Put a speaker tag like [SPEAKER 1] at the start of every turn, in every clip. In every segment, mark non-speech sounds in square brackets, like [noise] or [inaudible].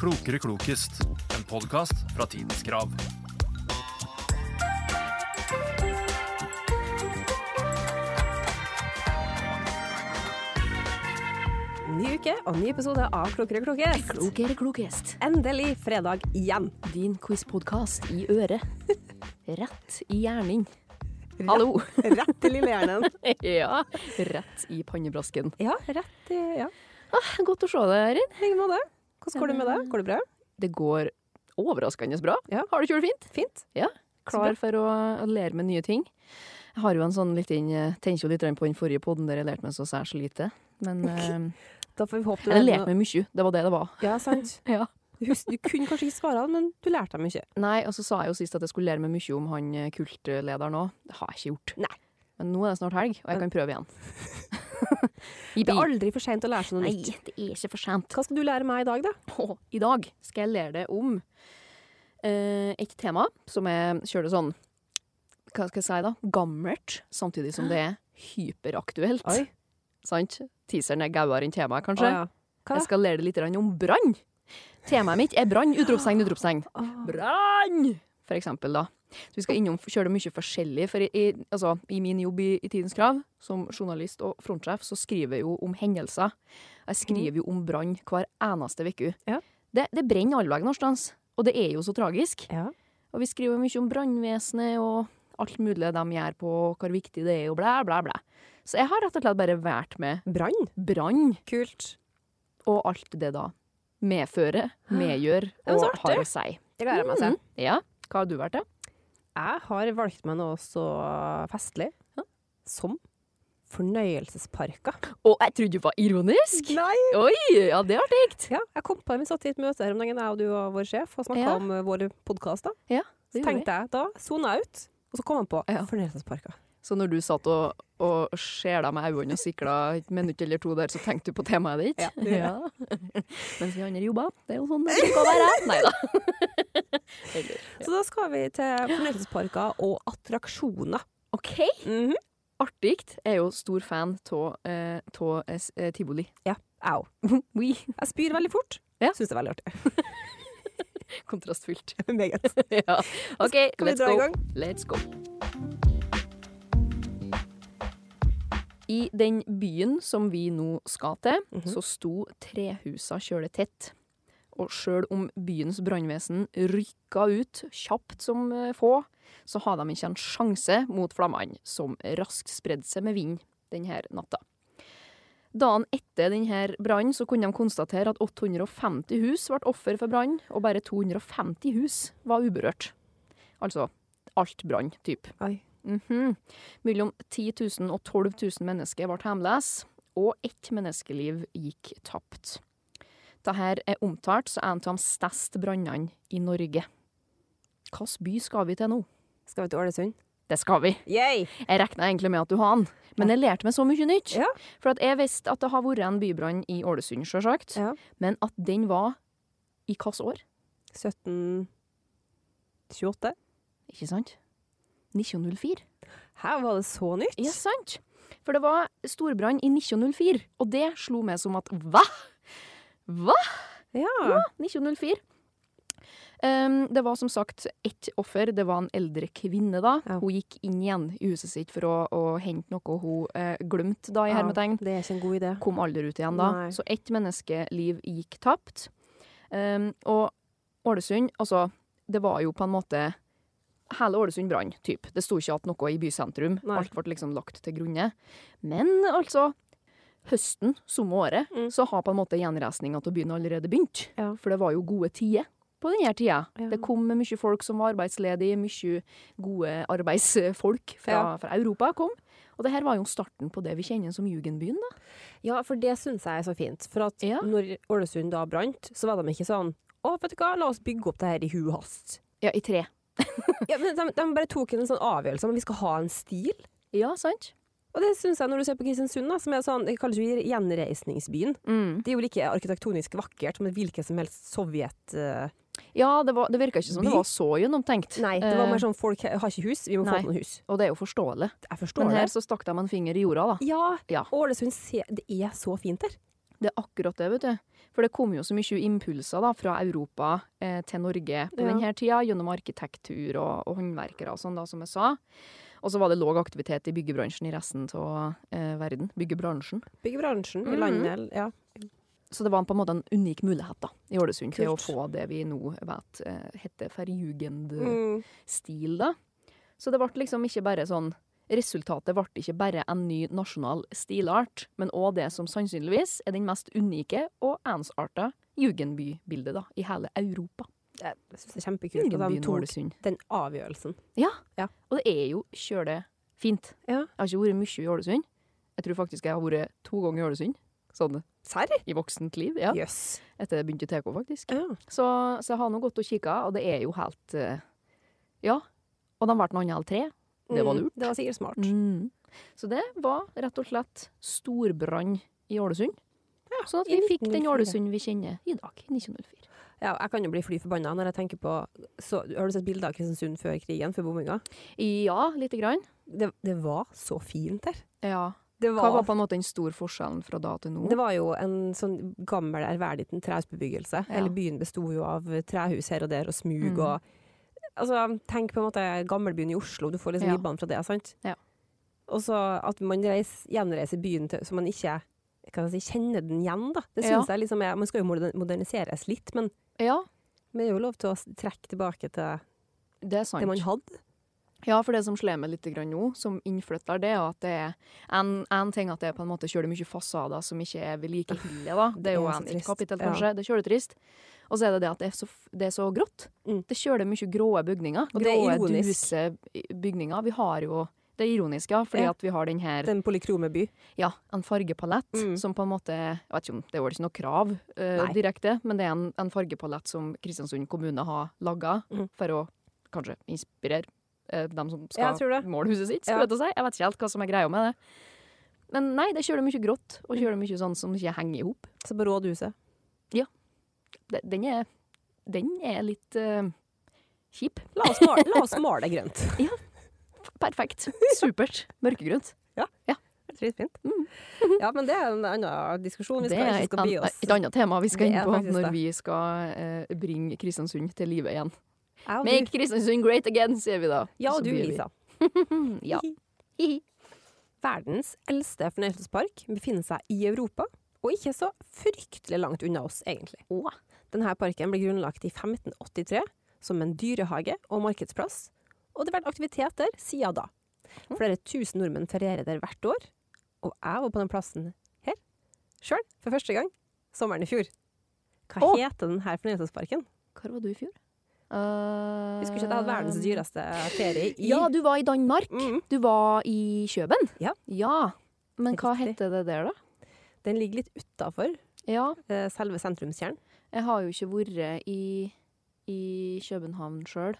[SPEAKER 1] Klokere klokest, en podkast fra Tidens Krav.
[SPEAKER 2] Ny uke og ny episode av Klokere klokest.
[SPEAKER 3] Klokere klokest.
[SPEAKER 2] Endelig fredag igjen.
[SPEAKER 3] Din quizpodkast i øret. Rett i hjernen. Hallo.
[SPEAKER 2] [laughs]
[SPEAKER 3] [laughs]
[SPEAKER 2] Rett i lillehjernen.
[SPEAKER 3] ja. Rett i pannebrasken.
[SPEAKER 2] Ja, rett i ja.
[SPEAKER 3] Ah, godt å se deg, Erin.
[SPEAKER 2] I like måte. Hvordan går det med deg? Går det bra?
[SPEAKER 3] Det går overraskende bra.
[SPEAKER 2] Ja.
[SPEAKER 3] Har du ikke gjort det fint?
[SPEAKER 2] Fint?
[SPEAKER 3] Klar for å, å lære meg nye ting. Jeg har jo en sånn liten eh, Tenker jo litt på den forrige podden der jeg lærte meg så særs lite. Men eh,
[SPEAKER 2] Da får vi håpe du
[SPEAKER 3] Eller
[SPEAKER 2] lærte
[SPEAKER 3] lærte meg mye. Det var det det var.
[SPEAKER 2] noe- Ja, sant.
[SPEAKER 3] Ja.
[SPEAKER 2] Du, hus- du kunne kanskje ikke svare, men du lærte deg mye.
[SPEAKER 3] Nei, og så sa jeg jo sist at jeg skulle lære meg mye om han eh, kultlederen òg. Det har jeg ikke gjort.
[SPEAKER 2] Nei.
[SPEAKER 3] Men nå er det snart helg, og jeg kan
[SPEAKER 2] [laughs]
[SPEAKER 3] prøve igjen.
[SPEAKER 2] Det er aldri for seint å lære seg noe
[SPEAKER 3] Nei,
[SPEAKER 2] nytt.
[SPEAKER 3] det er ikke for sent.
[SPEAKER 2] Hva skal du lære meg i dag, da?
[SPEAKER 3] Og i dag skal jeg lære deg om eh, et tema som er kjører sånn Hva skal jeg si, da? Gammelt, samtidig som det er hyperaktuelt.
[SPEAKER 2] Oi.
[SPEAKER 3] Sant? Teaseren er gauere enn temaet,
[SPEAKER 2] Å,
[SPEAKER 3] kanskje.
[SPEAKER 2] ja. Hva?
[SPEAKER 3] Jeg skal lære deg litt grann om brann. Temaet mitt er brann! Utropstegn, utropstegn.
[SPEAKER 2] Å,
[SPEAKER 3] Brann! For eksempel, da. Så vi skal innom kjøre mye forskjellig. For i, i, altså, i min jobb i, i Tidens Krav, som journalist og frontsjef, så skriver jeg jo om hendelser. Jeg skriver jo om brann hver eneste uke.
[SPEAKER 2] Ja.
[SPEAKER 3] Det, det brenner alle veier noensteds. Og det er jo så tragisk.
[SPEAKER 2] ja.
[SPEAKER 3] Og vi skriver mye om brannvesenet og alt mulig de gjør på, og hvor viktig det er, og blæ, blæ, blæ. Så jeg har rett og slett bare vært med
[SPEAKER 2] Brann?
[SPEAKER 3] brann
[SPEAKER 2] Kult.
[SPEAKER 3] og alt det da medfører, medgjør
[SPEAKER 2] men
[SPEAKER 3] og
[SPEAKER 2] så artig.
[SPEAKER 3] har å si.
[SPEAKER 2] Det gleder jeg meg til.
[SPEAKER 3] Mm. Ja. Hva har du vært til?
[SPEAKER 2] Jeg har valgt meg noe så festlig som fornøyelsesparker.
[SPEAKER 3] Å, jeg trodde du var ironisk!
[SPEAKER 2] Nei!
[SPEAKER 3] Oi, ja, det er artig!
[SPEAKER 2] Ja, jeg kom på det, vi satt i et møte her om dagen, jeg og du og vår sjef, og snakka
[SPEAKER 3] Ja.
[SPEAKER 2] om eh, våre podkaster.
[SPEAKER 3] Ja,
[SPEAKER 2] Så tenkte jeg, da sona jeg ut, og så kom han på
[SPEAKER 3] Ja.
[SPEAKER 2] fornøyelsesparker.
[SPEAKER 3] Så når du satt og, og skjela med øynene og sikla et minutt eller to der, så tenkte du på temaet ditt?
[SPEAKER 2] Ja, det gjør jeg.
[SPEAKER 3] [laughs] Mens vi andre jobba. Det er jo sånn det skal være. Nei da.
[SPEAKER 2] Så da skal vi til fornøyelsesparker og attraksjoner. Mhm,
[SPEAKER 3] OK. Artig. Jeg er jo stor fan av eh, tå, eh, s- eh, tivoli.
[SPEAKER 2] Ja. Au.
[SPEAKER 3] Oui.
[SPEAKER 2] Jeg spyr veldig fort.
[SPEAKER 3] Ja.
[SPEAKER 2] Syns det er veldig artig. [laughs]
[SPEAKER 3] Kontrastfylt.
[SPEAKER 2] Meget.
[SPEAKER 3] [laughs] ja. OK,
[SPEAKER 2] Skal vi
[SPEAKER 3] let's
[SPEAKER 2] dra i
[SPEAKER 3] go.
[SPEAKER 2] gang?
[SPEAKER 3] Let's go. I den byen som vi nå skal til,
[SPEAKER 2] Mhm.
[SPEAKER 3] så sto trehusa kjøletett. Og sjøl om byens brannvesen rykka ut kjapt som eh, få, så hadde de ikke en sjanse mot flammene, som raskt spredde seg med vind denne natta. Dagen etter denne brannen så kunne de konstatere at 850 hus ble offer for brann, og bare 250 hus var uberørt. Altså alt brann, type.
[SPEAKER 2] Oi.
[SPEAKER 3] Mhm. Mellom 10 000 og 12 000 mennesker ble hjemløse, og ett menneskeliv gikk tapt. Dette er omtalt som en av de største brannene i Norge. Hvilken by skal vi til nå?
[SPEAKER 2] Skal vi til Ålesund?
[SPEAKER 3] Det skal vi.
[SPEAKER 2] Yay!
[SPEAKER 3] Jeg regna egentlig med at du har den, men jeg lærte meg så mye nytt.
[SPEAKER 2] Ja.
[SPEAKER 3] For at jeg visste at det har vært en bybrann i Ålesund, sjølsagt,
[SPEAKER 2] Ja.
[SPEAKER 3] men at den var i hvilket år?
[SPEAKER 2] 1728.
[SPEAKER 3] Ikke sant? 1904.
[SPEAKER 2] Her var det så nytt.
[SPEAKER 3] Ja, sant. For det var storbrann i 1904, og det slo meg som at hva? Hva?
[SPEAKER 2] Ja.
[SPEAKER 3] 1904? Ehm, det var som sagt ett offer. Det var en eldre kvinne, da.
[SPEAKER 2] Ja.
[SPEAKER 3] Hun gikk inn igjen i huset sitt for å, å hente noe hun eh, glemte, da, i
[SPEAKER 2] Ja,
[SPEAKER 3] hermetegn.
[SPEAKER 2] Det er ikke en god idé.
[SPEAKER 3] Kom aldri ut igjen, da.
[SPEAKER 2] Nei.
[SPEAKER 3] Så ett menneskeliv gikk tapt. Ehm, og Ålesund, altså Det var jo på en måte Hele Ålesund brann, typ. Det sto ikke at noe i bysentrum.
[SPEAKER 2] Nei.
[SPEAKER 3] Alt ble liksom lagt til grunne. Men altså Høsten samme året
[SPEAKER 2] Mm.
[SPEAKER 3] så har på en måte gjenreisninga av byen allerede begynt.
[SPEAKER 2] Ja.
[SPEAKER 3] For det var jo gode tider på denne tida.
[SPEAKER 2] Ja.
[SPEAKER 3] Det kom mye folk som var arbeidsledige, mye gode arbeidsfolk fra,
[SPEAKER 2] Ja.
[SPEAKER 3] fra Europa kom. Og det her var jo starten på det vi kjenner som Jugendbyen, da.
[SPEAKER 2] Ja, for det syns jeg er så fint. For at
[SPEAKER 3] Ja.
[SPEAKER 2] når Ålesund da brant, så var de ikke sånn å, vet du hva, la oss bygge opp det her i hu og hast.
[SPEAKER 3] [laughs] Ja, i tre.
[SPEAKER 2] Ja, men de, de bare tok en sånn avgjørelse om at vi skal ha en stil.
[SPEAKER 3] Ja, sant?
[SPEAKER 2] Og det syns jeg når du ser på Kristiansund, da, som er sånn, det kalles jo gjenreisningsbyen. Det er jo like arkitektonisk vakkert som et hvilket som helst sovjet... eh,
[SPEAKER 3] Ja, det, var, det virka ikke som
[SPEAKER 2] By.
[SPEAKER 3] det var så gjennomtenkt.
[SPEAKER 2] nei, det var
[SPEAKER 3] Eh,
[SPEAKER 2] mer sånn folk har ikke hus, vi må
[SPEAKER 3] nei.
[SPEAKER 2] få noen hus.
[SPEAKER 3] Og det er jo forståelig.
[SPEAKER 2] Jeg
[SPEAKER 3] Men
[SPEAKER 2] forstår
[SPEAKER 3] her
[SPEAKER 2] det.
[SPEAKER 3] så stakk de en finger i jorda, da.
[SPEAKER 2] Ja,
[SPEAKER 3] Ja.
[SPEAKER 2] Ålesund, se, det er så fint der.
[SPEAKER 3] Det er akkurat det, vet du. For det kom jo så mye impulser da, fra Europa eh, til Norge på
[SPEAKER 2] Ja.
[SPEAKER 3] denne tida, gjennom arkitektur og, og håndverkere og sånn, da, som jeg sa. Og så var det låg aktivitet i byggebransjen i resten av eh, verden. Byggebransjen.
[SPEAKER 2] Byggebransjen
[SPEAKER 3] Mhm.
[SPEAKER 2] i landet, ja.
[SPEAKER 3] Så det var på en måte en unik mulighet da, i Ålesund til å
[SPEAKER 2] Kult.
[SPEAKER 3] få det vi nå vet eh, heter Ferjugend-stil.
[SPEAKER 2] Mm.
[SPEAKER 3] da. Så det ble liksom ikke bare sånn Resultatet ble ikke bare en ny nasjonal stilart, men òg det som sannsynligvis er den mest unike og ensarta jugendbybildet da, i hele Europa.
[SPEAKER 2] Jeg syns det er kjempekult at de
[SPEAKER 3] Jugendbyen
[SPEAKER 2] tok
[SPEAKER 3] Ålesund.
[SPEAKER 2] den avgjørelsen.
[SPEAKER 3] Og det er jo kjøle fint.
[SPEAKER 2] Ja.
[SPEAKER 3] Jeg har ikke vært mye i Ålesund. Jeg tror faktisk jeg har vært to ganger i Ålesund, sånn
[SPEAKER 2] Serr?
[SPEAKER 3] i voksent liv. Ja.
[SPEAKER 2] Jøss.
[SPEAKER 3] Etter jeg begynte i TK, faktisk.
[SPEAKER 2] Ja.
[SPEAKER 3] Så, så jeg har nå gått og kikka, og det er jo helt eh, Ja. Og de ble noen andre tre. Det var
[SPEAKER 2] Mm,
[SPEAKER 3] lurt.
[SPEAKER 2] Det var sikkert smart.
[SPEAKER 3] Mm. Så det var rett og slett storbrann i Ålesund. sånn at
[SPEAKER 2] i
[SPEAKER 3] vi fikk den
[SPEAKER 2] 1904.
[SPEAKER 3] Ålesund vi kjenner i dag, i 1904.
[SPEAKER 2] Ja, jeg kan jo bli fly forbanna når jeg tenker på så, Har du sett bilder av Kristiansund før krigen, før bomminga?
[SPEAKER 3] Ja, lite grann.
[SPEAKER 2] Det, det var så fint der.
[SPEAKER 3] Ja.
[SPEAKER 2] Det
[SPEAKER 3] Hva
[SPEAKER 2] var,
[SPEAKER 3] var på en måte den store forskjellen fra da til nå?
[SPEAKER 2] det var jo en sånn gammel, ærverdig trehusbebyggelse.
[SPEAKER 3] Ja.
[SPEAKER 2] Hele byen besto jo av trehus her og der, og smug
[SPEAKER 3] Mhm.
[SPEAKER 2] og Altså, tenk på en måte gammelbyen i Oslo, du får liksom
[SPEAKER 3] Ja.
[SPEAKER 2] vibbene fra det, sant?
[SPEAKER 3] Ja.
[SPEAKER 2] Og så at man reis, gjenreiser byen til, så man ikke kan jeg si, kjenner den igjen, da. Det
[SPEAKER 3] Ja.
[SPEAKER 2] synes jeg liksom er Man skal jo moder- moderniseres litt, men
[SPEAKER 3] Ja,
[SPEAKER 2] men det er jo lov til å s- trekke tilbake til
[SPEAKER 3] det er sant.
[SPEAKER 2] det man hadde.
[SPEAKER 3] Ja, for det som slår meg litt grann nå, som innflytter, det er at det er en, en ting at det er på en måte kjører mye fasader som ikke er vedlikeholdet, da. Det er jo
[SPEAKER 2] Det er så
[SPEAKER 3] en
[SPEAKER 2] trist.
[SPEAKER 3] kapittel,
[SPEAKER 2] Ja.
[SPEAKER 3] kanskje. Det kjører trist. Og så er det det at det er så, f- det er så grått.
[SPEAKER 2] Mm.
[SPEAKER 3] Det kjører mye gråe bygninger.
[SPEAKER 2] Og det er
[SPEAKER 3] Gråe,
[SPEAKER 2] ironisk.
[SPEAKER 3] duse bygninger. Vi har jo Det er ironisk, ja, fordi
[SPEAKER 2] Ja.
[SPEAKER 3] at vi har den her
[SPEAKER 2] Den polykrome by.
[SPEAKER 3] ja, en fargepalett
[SPEAKER 2] Mm.
[SPEAKER 3] som på en måte Jeg vet ikke om det er vel ikke noe krav eh,
[SPEAKER 2] Nei.
[SPEAKER 3] direkte, men det er en, en fargepalett som Kristiansund kommune har laga
[SPEAKER 2] Mm.
[SPEAKER 3] for å kanskje inspirere eh, dem som
[SPEAKER 2] Ja, jeg
[SPEAKER 3] skal [laughs]
[SPEAKER 2] tror det.
[SPEAKER 3] måle huset sitt.
[SPEAKER 2] Ja.
[SPEAKER 3] Skulle jeg til å si. Jeg vet ikke helt hva som er greia med det. Men nei, det kjører mye grått, og kjører mye sånn som ikke henger i hop.
[SPEAKER 2] Så på rådhuset.
[SPEAKER 3] Det- Den er, den er litt eh, kjip.
[SPEAKER 2] La oss male, la oss male det
[SPEAKER 3] [laughs]
[SPEAKER 2] grønt. [laughs]
[SPEAKER 3] Perfekt. Supert. Mørkegrønt.
[SPEAKER 2] Dritfint. Mm. Ja, men det er en annen diskusjon. Vi
[SPEAKER 3] Det
[SPEAKER 2] skal
[SPEAKER 3] er
[SPEAKER 2] ikke
[SPEAKER 3] et,
[SPEAKER 2] skal bli
[SPEAKER 3] an,
[SPEAKER 2] oss.
[SPEAKER 3] et annet tema vi skal
[SPEAKER 2] Det
[SPEAKER 3] inn
[SPEAKER 2] er
[SPEAKER 3] på
[SPEAKER 2] faktisk
[SPEAKER 3] når
[SPEAKER 2] det.
[SPEAKER 3] vi skal eh, bringe Kristiansund til live igjen.
[SPEAKER 2] Jeg og du,
[SPEAKER 3] Make Kristiansund great again, sier vi da.
[SPEAKER 2] ja,
[SPEAKER 3] Så
[SPEAKER 2] og du,
[SPEAKER 3] blir vi-
[SPEAKER 2] Lisa.
[SPEAKER 3] [laughs] Ja.
[SPEAKER 2] [laughs] Verdens eldste fornøyelsespark befinner seg i Europa, og ikke så fryktelig langt unna oss, egentlig.
[SPEAKER 3] Å.
[SPEAKER 2] Denne parken ble grunnlagt i 1583 som en dyrehage og markedsplass, og det har vært aktivitet der siden da. Flere tusen nordmenn ferierer der hvert år, og jeg var på den plassen her sjøl for første gang sommeren i fjor. Hva
[SPEAKER 3] Å.
[SPEAKER 2] heter denne fornøyelsesparken?
[SPEAKER 3] Hvor var du i fjor? Uh,
[SPEAKER 2] Husker ikke at jeg hadde verdens altså. dyreste ferie i
[SPEAKER 3] Eh, Ja, du var i Danmark.
[SPEAKER 2] Mm.
[SPEAKER 3] Du var i Kjøben.
[SPEAKER 2] Ja.
[SPEAKER 3] Ja. Men hva
[SPEAKER 2] Riktig.
[SPEAKER 3] heter det der, da?
[SPEAKER 2] Den ligger litt utafor eh,
[SPEAKER 3] Ja,
[SPEAKER 2] selve sentrumskjernen.
[SPEAKER 3] jeg har jo ikke vært i, i København sjøl,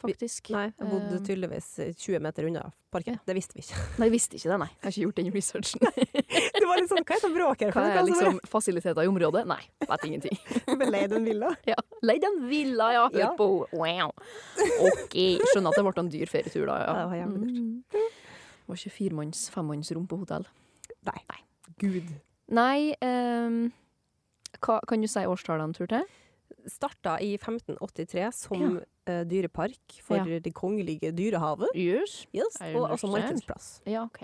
[SPEAKER 3] faktisk.
[SPEAKER 2] Nei, jeg bodde
[SPEAKER 3] Um,
[SPEAKER 2] tydeligvis 20 meter unna parken. Det visste vi ikke. [laughs]
[SPEAKER 3] Nei, jeg visste ikke det, nei. Jeg har ikke gjort den researchen.
[SPEAKER 2] Det var litt sånn, Hva er det bråk her
[SPEAKER 3] [laughs] Hva er liksom fasiliteter i området? Nei, vet ingenting.
[SPEAKER 2] [laughs] Beleid en villa.
[SPEAKER 3] Ja. [laughs] Leid en villa, ja. Hør
[SPEAKER 2] Ja.
[SPEAKER 3] på henne. Wow. OK. Skjønner at det ble en dyr ferietur, da. Ja.
[SPEAKER 2] Ja, det var jævlig dyrt.
[SPEAKER 3] Mm. Det var ikke firemanns, femmannsrom på hotell.
[SPEAKER 2] Nei. Gud.
[SPEAKER 3] Nei, ehm, hva, kan du si årstallet en tur til?
[SPEAKER 2] Starta i 1583 som eh, dyrepark for
[SPEAKER 3] Ja.
[SPEAKER 2] det kongelige dyrehavet.
[SPEAKER 3] Yes.
[SPEAKER 2] Yes.
[SPEAKER 3] I
[SPEAKER 2] Og også
[SPEAKER 3] understand.
[SPEAKER 2] markedsplass.
[SPEAKER 3] Ja, OK.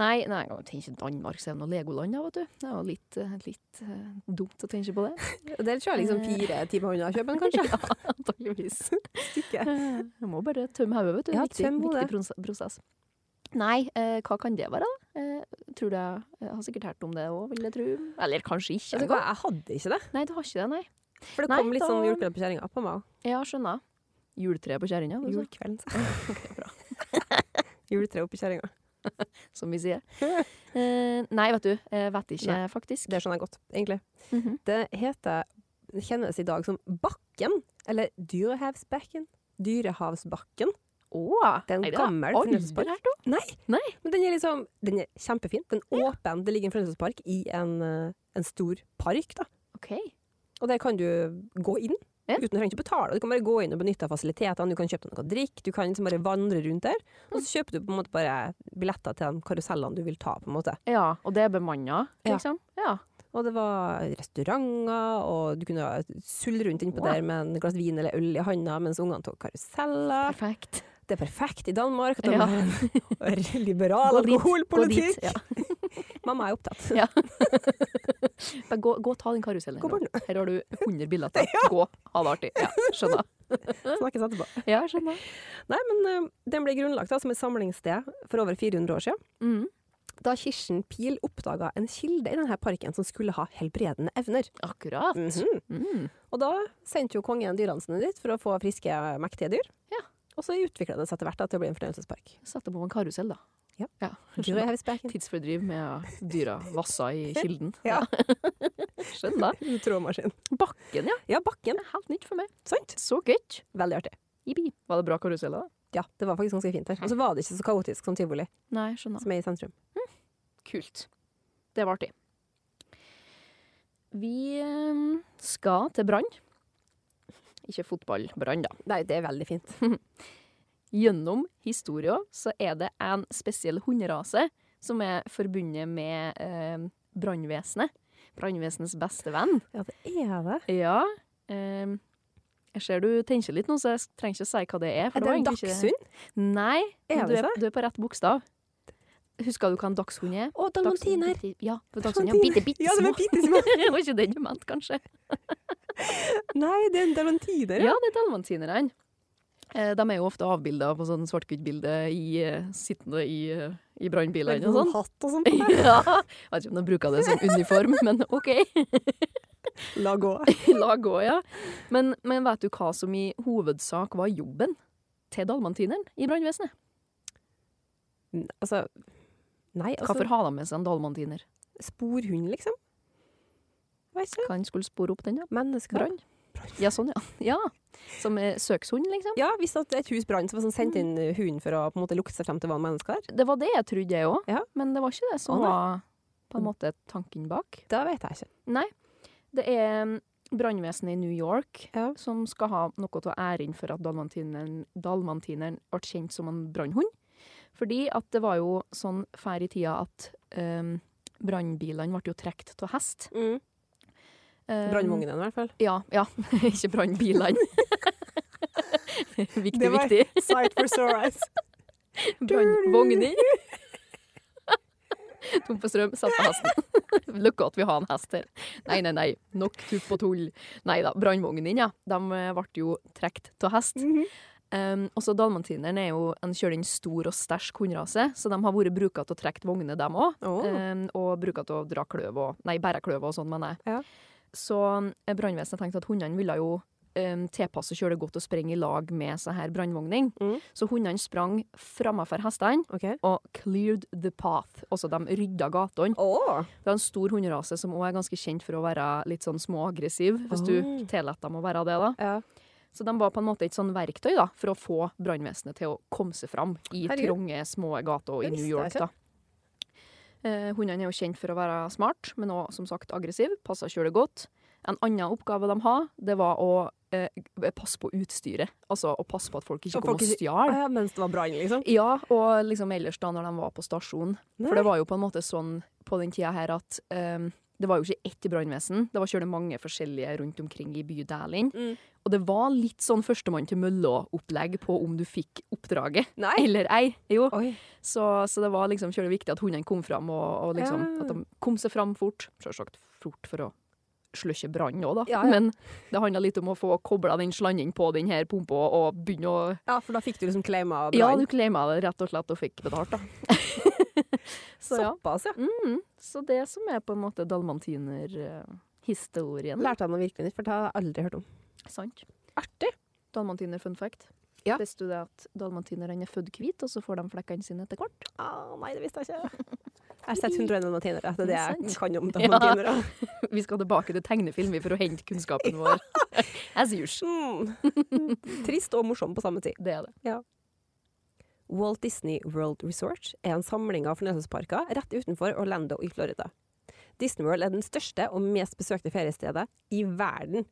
[SPEAKER 3] Nei, nei, jeg tenker Danmark så er det noe Legoland, da, vet du. Det er jo litt, eh, litt eh, dumt å tenke på det.
[SPEAKER 2] Der tror jeg
[SPEAKER 3] Eh.
[SPEAKER 2] liksom fire timer unna Kjøben, kanskje.
[SPEAKER 3] [laughs] ja,
[SPEAKER 2] [laughs]
[SPEAKER 3] antageligvis. Eh,
[SPEAKER 2] Stykket.
[SPEAKER 3] Jeg må bare tømme hodet, vet du.
[SPEAKER 2] Ja,
[SPEAKER 3] viktig,
[SPEAKER 2] tøm hodet.
[SPEAKER 3] viktig pros- prosess. Nei, eh, hva kan det være, da? Eh, tror du jeg, jeg har sikkert hørt om det òg, vil jeg tro. Eller kanskje ikke.
[SPEAKER 2] Altså, hva,
[SPEAKER 3] engang.
[SPEAKER 2] jeg hadde ikke det,
[SPEAKER 3] Nei, du har ikke det, nei.
[SPEAKER 2] for det
[SPEAKER 3] Nei,
[SPEAKER 2] kom litt sånn
[SPEAKER 3] da-
[SPEAKER 2] julekrem på kjerringa på meg.
[SPEAKER 3] Ja, skjønner. Juletreet på kjerringa, altså,
[SPEAKER 2] Julekvelden. [laughs] Juletre oppi kjerringa.
[SPEAKER 3] som vi
[SPEAKER 2] [laughs]
[SPEAKER 3] sier. Eh, nei, vet du. Eh, vet ikke,
[SPEAKER 2] Nei.
[SPEAKER 3] faktisk.
[SPEAKER 2] Det skjønner jeg godt, egentlig.
[SPEAKER 3] Mhm.
[SPEAKER 2] Det heter, det kjennes i dag som Bakken, eller Dyrehavsbekken. Dyrehavsbakken.
[SPEAKER 3] Åh,
[SPEAKER 2] Det er en
[SPEAKER 3] nei,
[SPEAKER 2] gammel
[SPEAKER 3] aldri
[SPEAKER 2] fornøyelsespark.
[SPEAKER 3] hørt om.
[SPEAKER 2] Nei.
[SPEAKER 3] Nei.
[SPEAKER 2] Men den er liksom Den er kjempefin. Den er åpen. Det ligger en fornøyelsespark i en, eh, en stor park, da.
[SPEAKER 3] Ok.
[SPEAKER 2] Og der kan du gå inn.
[SPEAKER 3] Ja.
[SPEAKER 2] Uten å trenge å betale. Du kan bare gå inn og benytte av fasilitetene. Du kan kjøpe deg noe å drikke. Du kan liksom bare vandre rundt der. Og så kjøper du på en måte bare billetter til de karusellene du vil ta, på en måte.
[SPEAKER 3] Ja, og det er bemanna,
[SPEAKER 2] Ja.
[SPEAKER 3] liksom? Ja.
[SPEAKER 2] Og det var restauranter, og du kunne sulle rundt innpå
[SPEAKER 3] Wow.
[SPEAKER 2] der med en glass vin eller øl i handa mens ungene tok karuseller.
[SPEAKER 3] Perfekt.
[SPEAKER 2] Det er perfekt i Danmark at de
[SPEAKER 3] Ja.
[SPEAKER 2] har
[SPEAKER 3] [laughs]
[SPEAKER 2] en liberal
[SPEAKER 3] Gå dit, Gå dit.
[SPEAKER 2] alkoholpolitikk.
[SPEAKER 3] Ja.
[SPEAKER 2] Mamma er opptatt. [laughs]
[SPEAKER 3] Ja. Bare gå, gå og ta den karusellen.
[SPEAKER 2] Gå
[SPEAKER 3] nå.
[SPEAKER 2] bort
[SPEAKER 3] Her har du 100 [laughs] billetter. Gå, ha det artig. Ja, skjønner.
[SPEAKER 2] Snakkes etterpå.
[SPEAKER 3] [laughs] Ja, skjønner.
[SPEAKER 2] Nei, men eh, den ble grunnlagt da, som et samlingssted for over 400 år siden.
[SPEAKER 3] Mm.
[SPEAKER 2] Da Kirsten Pil oppdaga en kilde i denne parken som skulle ha helbredende evner.
[SPEAKER 3] Akkurat.
[SPEAKER 2] Mhm.
[SPEAKER 3] Mm.
[SPEAKER 2] Og da sendte jo kongen dyrene sine dit for å få friske, mektige dyr.
[SPEAKER 3] Ja.
[SPEAKER 2] Og så utvikla det seg etter hvert da, til å bli en fornøyelsespark.
[SPEAKER 3] Satte på en karusell, da.
[SPEAKER 2] Ja.
[SPEAKER 3] skjønner.
[SPEAKER 2] Dyra er [laughs] spekken.
[SPEAKER 3] Tidsfordriv med dyra vassa [laughs] i kilden.
[SPEAKER 2] Ja.
[SPEAKER 3] Skjønner.
[SPEAKER 2] Trådmaskin.
[SPEAKER 3] Bakken, ja.
[SPEAKER 2] Ja, bakken.
[SPEAKER 3] Det er Helt nytt for meg.
[SPEAKER 2] Sant?
[SPEAKER 3] Så gøy.
[SPEAKER 2] Veldig artig.
[SPEAKER 3] Jippi. Var det bra karusell, da?
[SPEAKER 2] Ja, det var faktisk ganske fint der. Og så var det ikke så kaotisk som tivoli,
[SPEAKER 3] Nei, skjønner.
[SPEAKER 2] som er i sentrum.
[SPEAKER 3] Kult. Det var artig. Vi eh, skal til Brann. Ikke fotball-Brann, da.
[SPEAKER 2] Nei, det er veldig fint.
[SPEAKER 3] Gjennom historien så er det en spesiell hunderase som er forbundet med eh, brannvesenet. Brannvesenets beste venn.
[SPEAKER 2] [laughs] Ja, det er det.
[SPEAKER 3] Ja. Eh, jeg ser du tenker litt nå, så jeg trenger ikke å si hva det er. for
[SPEAKER 2] Er det
[SPEAKER 3] var
[SPEAKER 2] en
[SPEAKER 3] egentlig ikke-
[SPEAKER 2] dagshund?
[SPEAKER 3] Nei,
[SPEAKER 2] Er
[SPEAKER 3] men du
[SPEAKER 2] det
[SPEAKER 3] er, du er på rett bokstav. Husker du hva en dagshund er?
[SPEAKER 2] Å, dalmatiner!
[SPEAKER 3] Dagshund- Ja, for dagshund er
[SPEAKER 2] Dalmatiner.
[SPEAKER 3] bitte, bitte
[SPEAKER 2] Ja, de
[SPEAKER 3] små. [laughs]
[SPEAKER 2] er bitte [laughs] små.
[SPEAKER 3] Det var ikke den du mente, kanskje?
[SPEAKER 2] Nei, det er en dalmatiner.
[SPEAKER 3] Ja, det er dalmantinerne. Eh, De er jo ofte avbilda på sånn svart-hvitt-bilde i, eh, sittende i, eh, i brannbilene
[SPEAKER 2] [laughs]
[SPEAKER 3] og sånn.
[SPEAKER 2] Hatt og sånt.
[SPEAKER 3] [laughs] Ja, jeg vet ikke om de bruker det som uniform, men OK. [laughs]
[SPEAKER 2] La [laughs] gå.
[SPEAKER 3] La gå, ja. Men, men vet du hva som i hovedsak var jobben til dalmantineren i brannvesenet?
[SPEAKER 2] Altså, nei, altså
[SPEAKER 3] Hvorfor har de med seg en dalmantiner?
[SPEAKER 2] Sporhund, liksom? Vet ikke.
[SPEAKER 3] Kan skulle spore opp den, ja.
[SPEAKER 2] Mennesker.
[SPEAKER 3] Brann. Ja, sånn, ja. [laughs] ja. Som eh, søkshund, liksom.
[SPEAKER 2] Ja, hvis at et hus brant, så var det sånn sendt inn hunden for å på en måte lukte seg frem til hva en menneske er.
[SPEAKER 3] Det var det jeg trodde, jeg òg.
[SPEAKER 2] Ja.
[SPEAKER 3] Men det var ikke det
[SPEAKER 2] Å,
[SPEAKER 3] som
[SPEAKER 2] nei.
[SPEAKER 3] var på en måte tanken bak.
[SPEAKER 2] Da vet jeg ikke.
[SPEAKER 3] Nei. Det er mm, brannvesenet i New York
[SPEAKER 2] Ja.
[SPEAKER 3] som skal ha noe til å ære inn for at dalmantineren, dalmantineren ble kjent som en brannhund. Fordi at det var jo sånn før i tida at um, brannbilene ble jo trukket av hest.
[SPEAKER 2] Mm.
[SPEAKER 3] Um,
[SPEAKER 2] Brannvognen, i hvert fall.
[SPEAKER 3] Ja. ja. [laughs] ikke brannbilene. [laughs] viktig,
[SPEAKER 2] Det var-
[SPEAKER 3] viktig.
[SPEAKER 2] Sight for sore [laughs] eyes.
[SPEAKER 3] Brannvogner. [laughs] Tom for strøm, satt på hesten. [laughs] Lykke at vi har en hest her. Nei, nei, nei. Nok tupp og tull. Nei da. Brannvognene, ja. De eh, ble jo trukket av hest.
[SPEAKER 2] Mm. Mm-hmm.
[SPEAKER 3] Um, også dalmantineren er jo en kjølig stor og sterk hunderase, så de har vært bruka til å trekke vogner, dem òg.
[SPEAKER 2] Åh.
[SPEAKER 3] Um, og bruker til å dra kløv og Nei, bære kløv og sånn, mener jeg.
[SPEAKER 2] Ja.
[SPEAKER 3] Så eh, brannvesenet tenkte at hundene ville jo um, tilpasse kjølig godt og sprenge i lag med seg her brannvogning.
[SPEAKER 2] Mm.
[SPEAKER 3] Så hundene sprang framover hestene
[SPEAKER 2] OK.
[SPEAKER 3] og cleared the path. Altså de rydda gatene.
[SPEAKER 2] Åh.
[SPEAKER 3] Det er en stor hunderase som òg er ganske kjent for å være litt sånn småaggressiv, hvis du
[SPEAKER 2] Oh.
[SPEAKER 3] tillater dem å være det, da.
[SPEAKER 2] Ja.
[SPEAKER 3] Så de var på en måte et sånn verktøy da, for å få brannvesenet til å komme seg fram i
[SPEAKER 2] Herregud.
[SPEAKER 3] trange, små gater
[SPEAKER 2] Det
[SPEAKER 3] i New
[SPEAKER 2] visste
[SPEAKER 3] York.
[SPEAKER 2] jeg
[SPEAKER 3] da. Eh, hundene er jo kjent for å være smart, men også som sagt aggressiv. Passer kjølig godt. En annen oppgave de har, det var å eh, passe på utstyret. Altså å passe på at folk ikke
[SPEAKER 2] Og
[SPEAKER 3] kom
[SPEAKER 2] folk
[SPEAKER 3] og
[SPEAKER 2] ikke-
[SPEAKER 3] stjal.
[SPEAKER 2] ja, mens det var brann, liksom.
[SPEAKER 3] Ja, og liksom ellers da når de var på stasjonen. For
[SPEAKER 2] Nei.
[SPEAKER 3] det var jo på en måte sånn på den tida her at eh, det var jo ikke ett brannvesen, det var kjølig mange forskjellige rundt omkring i bydelen.
[SPEAKER 2] Mm.
[SPEAKER 3] Og det var litt sånn førstemann til mølla-opplegg på om du fikk oppdraget
[SPEAKER 2] Nei!
[SPEAKER 3] eller ei. Jo.
[SPEAKER 2] Oi.
[SPEAKER 3] Så, så det var liksom kjølig viktig at hundene kom fram, og, og liksom,
[SPEAKER 2] Ja.
[SPEAKER 3] at de kom seg fram fort. Selvsagt fort for å sløkke brann òg, da.
[SPEAKER 2] Ja, ja.
[SPEAKER 3] Men det handla litt om å få kobla den slangen på den her pumpa og begynne å
[SPEAKER 2] Ja, for da fikk du liksom claima
[SPEAKER 3] Ja,
[SPEAKER 2] brann.
[SPEAKER 3] du claima det rett og slett og fikk [laughs] betalt, da. så ja.
[SPEAKER 2] Såpass, ja.
[SPEAKER 3] Mm, så det som er på en måte eh, dalmantiner-historien.
[SPEAKER 2] Lærte jeg noe virkelig nytt, for det har jeg aldri hørt om.
[SPEAKER 3] Sant.
[SPEAKER 2] Artig!
[SPEAKER 3] Dalmantiner fun fact.
[SPEAKER 2] Ja.
[SPEAKER 3] Visste du det at dalmantinerne er født hvite, og så får de flekkene sine etter hvert? [laughs]
[SPEAKER 2] Ah, nei, det visste jeg [laughs] ikke. Jeg har sett 101 dalmatinere. Det er det jeg
[SPEAKER 3] Sant.
[SPEAKER 2] kan [laughs] om
[SPEAKER 3] Ja.
[SPEAKER 2] dalmatinere.
[SPEAKER 3] Vi skal tilbake til tegnefilm vi, for å hente [laughs] kunnskapen vår. As usual.
[SPEAKER 2] Mm. Trist og morsom på samme tid.
[SPEAKER 3] Det er det. [laughs]
[SPEAKER 2] Walt Disney World Resort er en samling av fornøyelsesparker rett utenfor Orlando i Florida. Disney World er den største og mest besøkte feriestedet i verden.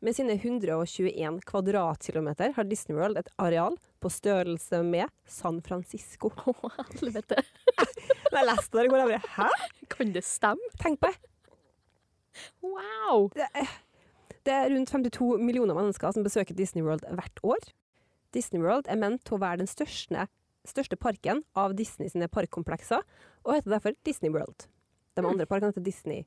[SPEAKER 2] Med sine 121 kvadratkilometer har Disney World et areal på størrelse med San Francisco.
[SPEAKER 3] Å, helvete.
[SPEAKER 2] Når jeg leste det, går jeg bare Hæ?
[SPEAKER 3] Kan det stemme?
[SPEAKER 2] Tenk på det!
[SPEAKER 3] Wow!
[SPEAKER 2] Det er rundt 52 millioner mennesker som besøker Disney World hvert år. Disney World er ment til å være den største, største parken av Disney sine parkkomplekser, og heter derfor Disney World.
[SPEAKER 3] Mm.
[SPEAKER 2] De andre parkene heter Disney,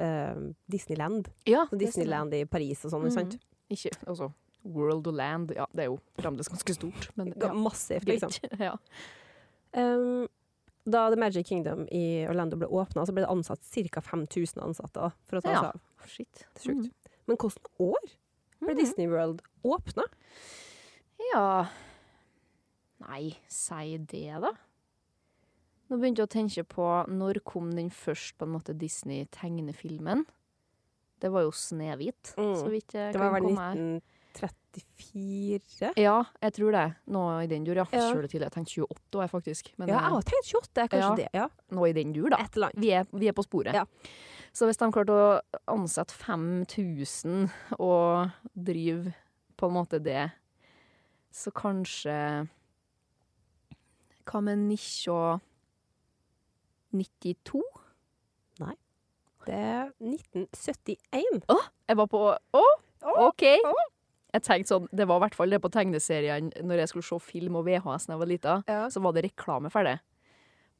[SPEAKER 2] eh, Disneyland.
[SPEAKER 3] Ja,
[SPEAKER 2] Så Disneyland i Paris og sånn, ikke sant?
[SPEAKER 3] Ikke, altså, World og Land, ja, det er jo fremdeles ganske stort, men Mm. ja,
[SPEAKER 2] Massivt,
[SPEAKER 3] greit.
[SPEAKER 2] liksom.
[SPEAKER 3] [laughs] Ja.
[SPEAKER 2] Um, da The Magic Kingdom i Orlando ble åpna, ble det ansatt ca. 5000 ansatte. da, for å ta
[SPEAKER 3] Ja. Mm.
[SPEAKER 2] seg av.
[SPEAKER 3] Shit.
[SPEAKER 2] Det er sjukt. Men hvilket år ble
[SPEAKER 3] Mm.
[SPEAKER 2] Disney World åpna?
[SPEAKER 3] Ja Nei, si det, da. Nå begynte jeg å tenke på når kom den først på en måte Disney-tegnefilmen? Det var jo 'Snehvit',
[SPEAKER 2] Mm.
[SPEAKER 3] så vidt jeg
[SPEAKER 2] Det var
[SPEAKER 3] kan
[SPEAKER 2] vel
[SPEAKER 3] komme her.
[SPEAKER 2] 1934?
[SPEAKER 3] Ja, jeg tror det. Noe i den dur, ja.
[SPEAKER 2] Ja.
[SPEAKER 3] Selv til jeg tenkte 28 år, faktisk. Men
[SPEAKER 2] Ja, jeg
[SPEAKER 3] eh,
[SPEAKER 2] har tenkt 28, kanskje
[SPEAKER 3] Ja.
[SPEAKER 2] det. Ja.
[SPEAKER 3] noe i den dur, da.
[SPEAKER 2] Et eller annet.
[SPEAKER 3] Vi er, vi er på sporet.
[SPEAKER 2] Ja.
[SPEAKER 3] Så hvis de klarte å ansette 5000 og drive på en måte det, så kanskje Hva med 1992?
[SPEAKER 2] Det er 1971.
[SPEAKER 3] Jeg var på Å, OK! Jeg tenkte sånn, Det var i hvert fall det på tegneseriene når jeg skulle se film og VHS da jeg var lita.
[SPEAKER 2] Ja.
[SPEAKER 3] Så var det reklame for det.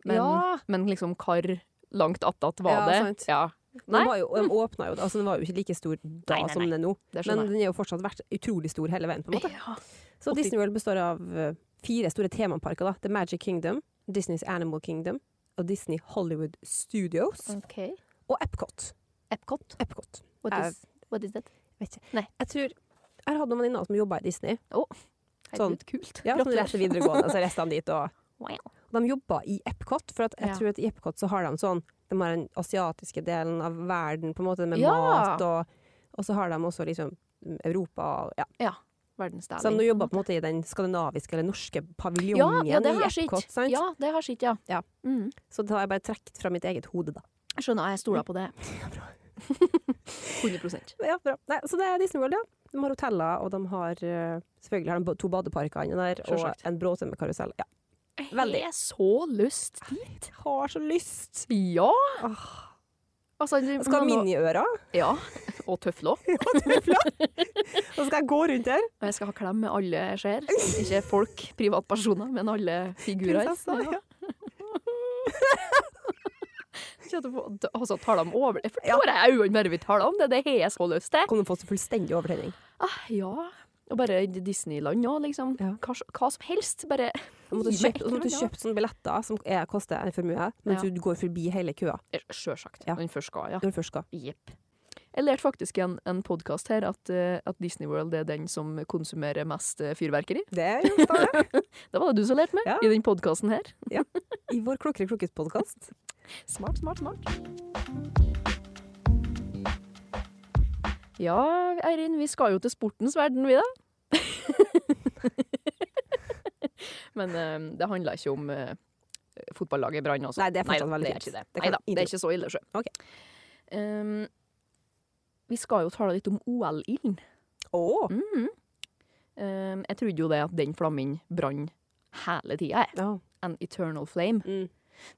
[SPEAKER 3] Men,
[SPEAKER 2] Ja.
[SPEAKER 3] men liksom hvor langt attåt var
[SPEAKER 2] Ja,
[SPEAKER 3] det?
[SPEAKER 2] sant.
[SPEAKER 3] Ja, Nei.
[SPEAKER 2] Den, var jo, den åpna jo altså Den var jo ikke like stor da
[SPEAKER 3] Nei, nei,
[SPEAKER 2] som
[SPEAKER 3] nei.
[SPEAKER 2] den er nå.
[SPEAKER 3] det
[SPEAKER 2] Men
[SPEAKER 3] skjønner jeg.
[SPEAKER 2] den har jo fortsatt vært utrolig stor hele veien. på en måte.
[SPEAKER 3] Ja.
[SPEAKER 2] Så
[SPEAKER 3] Åtti-
[SPEAKER 2] Disney World består av eh, fire store temaparker. da. The Magic Kingdom, Disneys Animal Kingdom og Disney Hollywood Studios.
[SPEAKER 3] Okay.
[SPEAKER 2] Og Epcot.
[SPEAKER 3] Epcot?
[SPEAKER 2] Epcot.
[SPEAKER 3] What
[SPEAKER 2] Eh,
[SPEAKER 3] is, what is that?
[SPEAKER 2] Jeg tror jeg har hatt noen venninner som jobba i Disney.
[SPEAKER 3] Herregud, kult.
[SPEAKER 2] Ja, sånn rett til videregående, så reiste de dit. Og,
[SPEAKER 3] Wow.
[SPEAKER 2] og de jobba i Epcot, for at jeg
[SPEAKER 3] Ja.
[SPEAKER 2] tror at i Epcot så har de sånn De har den asiatiske delen av verden, på en måte, med
[SPEAKER 3] Ja.
[SPEAKER 2] mat, og, og så har de også liksom Europa og ja.
[SPEAKER 3] Verdensdaling.
[SPEAKER 2] Så de jobba på en måte i den skandinaviske eller norske
[SPEAKER 3] ja,
[SPEAKER 2] paviljongen
[SPEAKER 3] ja, det
[SPEAKER 2] i
[SPEAKER 3] har sitt.
[SPEAKER 2] Epcot. Sant?
[SPEAKER 3] Ja, det har sitt, ja.
[SPEAKER 2] Ja.
[SPEAKER 3] Mm.
[SPEAKER 2] Så det har jeg bare trukket fra mitt eget hode, da.
[SPEAKER 3] Jeg Skjønner, jeg stoler på [laughs] det. 100
[SPEAKER 2] Ja, bra. Nei, så det er Disney World, ja. De har hoteller, og de har eh, selvfølgelig har de ba- to badeparker inni der, og
[SPEAKER 3] Selvsagt.
[SPEAKER 2] en bråtømmerkarusell. Ja.
[SPEAKER 3] Jeg har så lyst dit.
[SPEAKER 2] Har så lyst!
[SPEAKER 3] Ja!
[SPEAKER 2] Åh.
[SPEAKER 3] Altså,
[SPEAKER 2] Jeg skal ha
[SPEAKER 3] men-
[SPEAKER 2] miniører,
[SPEAKER 3] Ja. Og tøfler.
[SPEAKER 2] og så skal jeg gå rundt
[SPEAKER 3] [laughs]
[SPEAKER 2] her.
[SPEAKER 3] Og jeg skal ha klem med alle
[SPEAKER 2] [laughs]
[SPEAKER 3] jeg ser. Ikke folk, privatpersoner, men alle figurer.
[SPEAKER 2] Prinsesser, ja.
[SPEAKER 3] [laughs] Kjenner du på- Altså, taler om over... Jeg forstår jeg øynene bare vi taler om det. Det har jeg så lyst til.
[SPEAKER 2] Kommer til å få så fullstendig overtenning.
[SPEAKER 3] Ah, ja. Og bare Disneyland òg, liksom.
[SPEAKER 2] Ja.
[SPEAKER 3] Hva, s- hva som helst. Bare
[SPEAKER 2] Du måtte
[SPEAKER 3] Gi meg et
[SPEAKER 2] kjøpt, måtte
[SPEAKER 3] eller annet.
[SPEAKER 2] kjøpt sånne billetter som er, koster en formue, mens
[SPEAKER 3] Ja.
[SPEAKER 2] du går forbi hele køa
[SPEAKER 3] Eh, Sjølsagt.
[SPEAKER 2] Ja.
[SPEAKER 3] Når den først skal, ja.
[SPEAKER 2] når du først skal.
[SPEAKER 3] Jepp. Jeg lærte faktisk i en, en podkast her at, eh, at Disney World er den som konsumerer mest eh, fyrverkeri.
[SPEAKER 2] Det er jo stas.
[SPEAKER 3] Det var det du som lærte meg
[SPEAKER 2] Ja.
[SPEAKER 3] i den podkasten her.
[SPEAKER 2] [laughs] I vår Klokkere klokkes-podkast.
[SPEAKER 3] Smart, smart, smart. Ja, Eirin, vi skal jo til sportens verden, vi da. [laughs] Men eh, det handler ikke om eh, fotballaget Brann, altså.
[SPEAKER 2] Nei, det er fortsatt
[SPEAKER 3] Neida,
[SPEAKER 2] veldig
[SPEAKER 3] det er
[SPEAKER 2] greit.
[SPEAKER 3] ikke det.
[SPEAKER 2] Det kan
[SPEAKER 3] Neida, det
[SPEAKER 2] ingen-
[SPEAKER 3] er ikke så ille, sjø.
[SPEAKER 2] Ok.
[SPEAKER 3] Em, vi skal jo tale litt om OL-ilden.
[SPEAKER 2] Å!
[SPEAKER 3] Mhm. Em, jeg trodde jo det at den flammen brann hele tida, jeg.
[SPEAKER 2] Ja.
[SPEAKER 3] An eternal flame.
[SPEAKER 2] Mm.